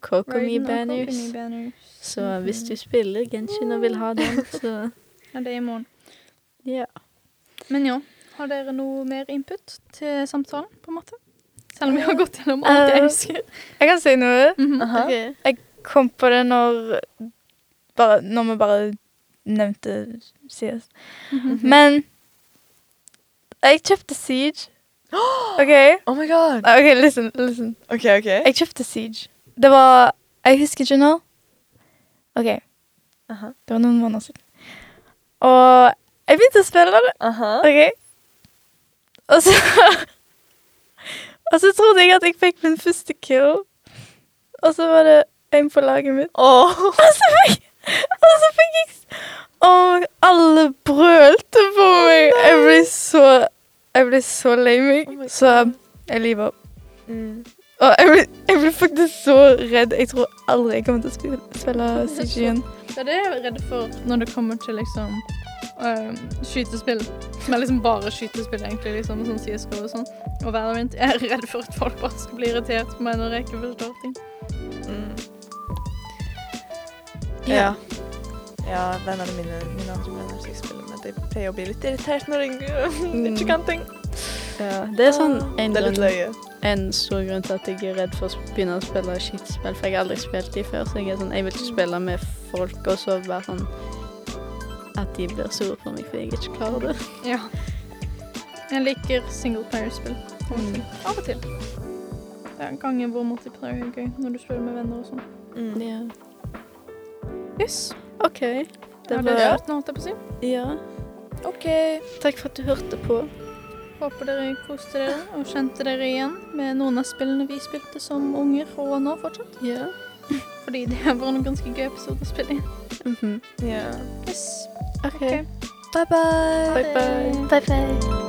Speaker 2: Raiden og Kokomi
Speaker 3: Kokomi Banners.
Speaker 2: Banners.
Speaker 3: Så hvis du spiller Genshin og vil ha den, så
Speaker 2: Ja, det er i morgen.
Speaker 3: ja.
Speaker 2: Men ja, har dere noe mer input til samtalen, på en måte? Selv om vi har gått gjennom
Speaker 4: Eh,
Speaker 2: alt jeg husker.
Speaker 4: Jeg kan si noe.
Speaker 2: Mhm.
Speaker 1: Aha.
Speaker 4: Kom på det når bare, Når vi bare nevnte CS.
Speaker 2: Mhm.
Speaker 4: Men jeg kjøpte Siege. OK?
Speaker 1: Oh my god.
Speaker 4: OK, listen. listen.
Speaker 1: OK, OK.
Speaker 4: Jeg kjøpte Siege. Det var Jeg husker ikke nå. OK.
Speaker 1: Aha.
Speaker 4: Det var noen måneder siden. Og jeg begynte å spille det.
Speaker 1: Aha.
Speaker 4: OK? Og så Og så trodde jeg at jeg fikk min første kill. Og så var det en på laget mitt.
Speaker 1: Åh.
Speaker 4: Og så fikk, og så fikk jeg Og alle brølte på meg. Jeg ble så Jeg ble så lei meg.
Speaker 1: Oh my
Speaker 4: så jeg lever.
Speaker 1: Mm.
Speaker 3: Oh,
Speaker 4: Og jeg ble, jeg ble faktisk så redd. Jeg tror aldri jeg kommer til å spille, spille
Speaker 3: eh,
Speaker 4: CG igjen.
Speaker 2: Det er det jeg er redd for når det kommer til liksom um, skytespill. Som er liksom bare skytespill, egentlig, liksom, sånn CSGO og sånn. Og Valorant. Jeg er redd for at folk bare skal bli irritert på meg når jeg ikke forstår ting.
Speaker 1: Mm.
Speaker 3: Ja.
Speaker 1: Ja. Ja, vennene mine, mine andre venner som jeg spiller med, de pleier å bli litt irritert når jeg ikke kan ting. Ah.
Speaker 3: ja. Mm. Det er sånn en
Speaker 1: Det er litt
Speaker 3: grunn-
Speaker 1: løye.
Speaker 3: en stor grunn til at jeg er redd for å sp- begynne å spille skytespill, for jeg har aldri spilt de før, så jeg, er sånn, jeg vil ikke spille med folk og så være sånn at de blir sure på meg fordi jeg ikke klarer det.
Speaker 2: Ja. Jeg liker singleplayer-spill. Av og til. Av og til. Det er ganger hvor multiplayer er gøy, når du spiller med venner og sånn.
Speaker 1: Mm.
Speaker 3: Ja.
Speaker 2: Yes.
Speaker 3: OK.
Speaker 2: Det
Speaker 3: Det
Speaker 2: har dere
Speaker 3: var
Speaker 2: hørt noe, holdt jeg på å si?
Speaker 3: Ja.
Speaker 1: OK.
Speaker 3: Takk for at du hørte på.
Speaker 2: Håper dere koste dere og kjente dere igjen med noen av spillene vi spilte som unger og nå fortsatt.
Speaker 3: Ja.
Speaker 2: Fordi det har vært en ganske gøy episode å spille inn.
Speaker 3: Mhm.
Speaker 1: Ja.
Speaker 2: Yes.
Speaker 3: OK.
Speaker 2: Ok.
Speaker 1: Bye bye.
Speaker 3: Bye, bye.
Speaker 4: Bye, bye.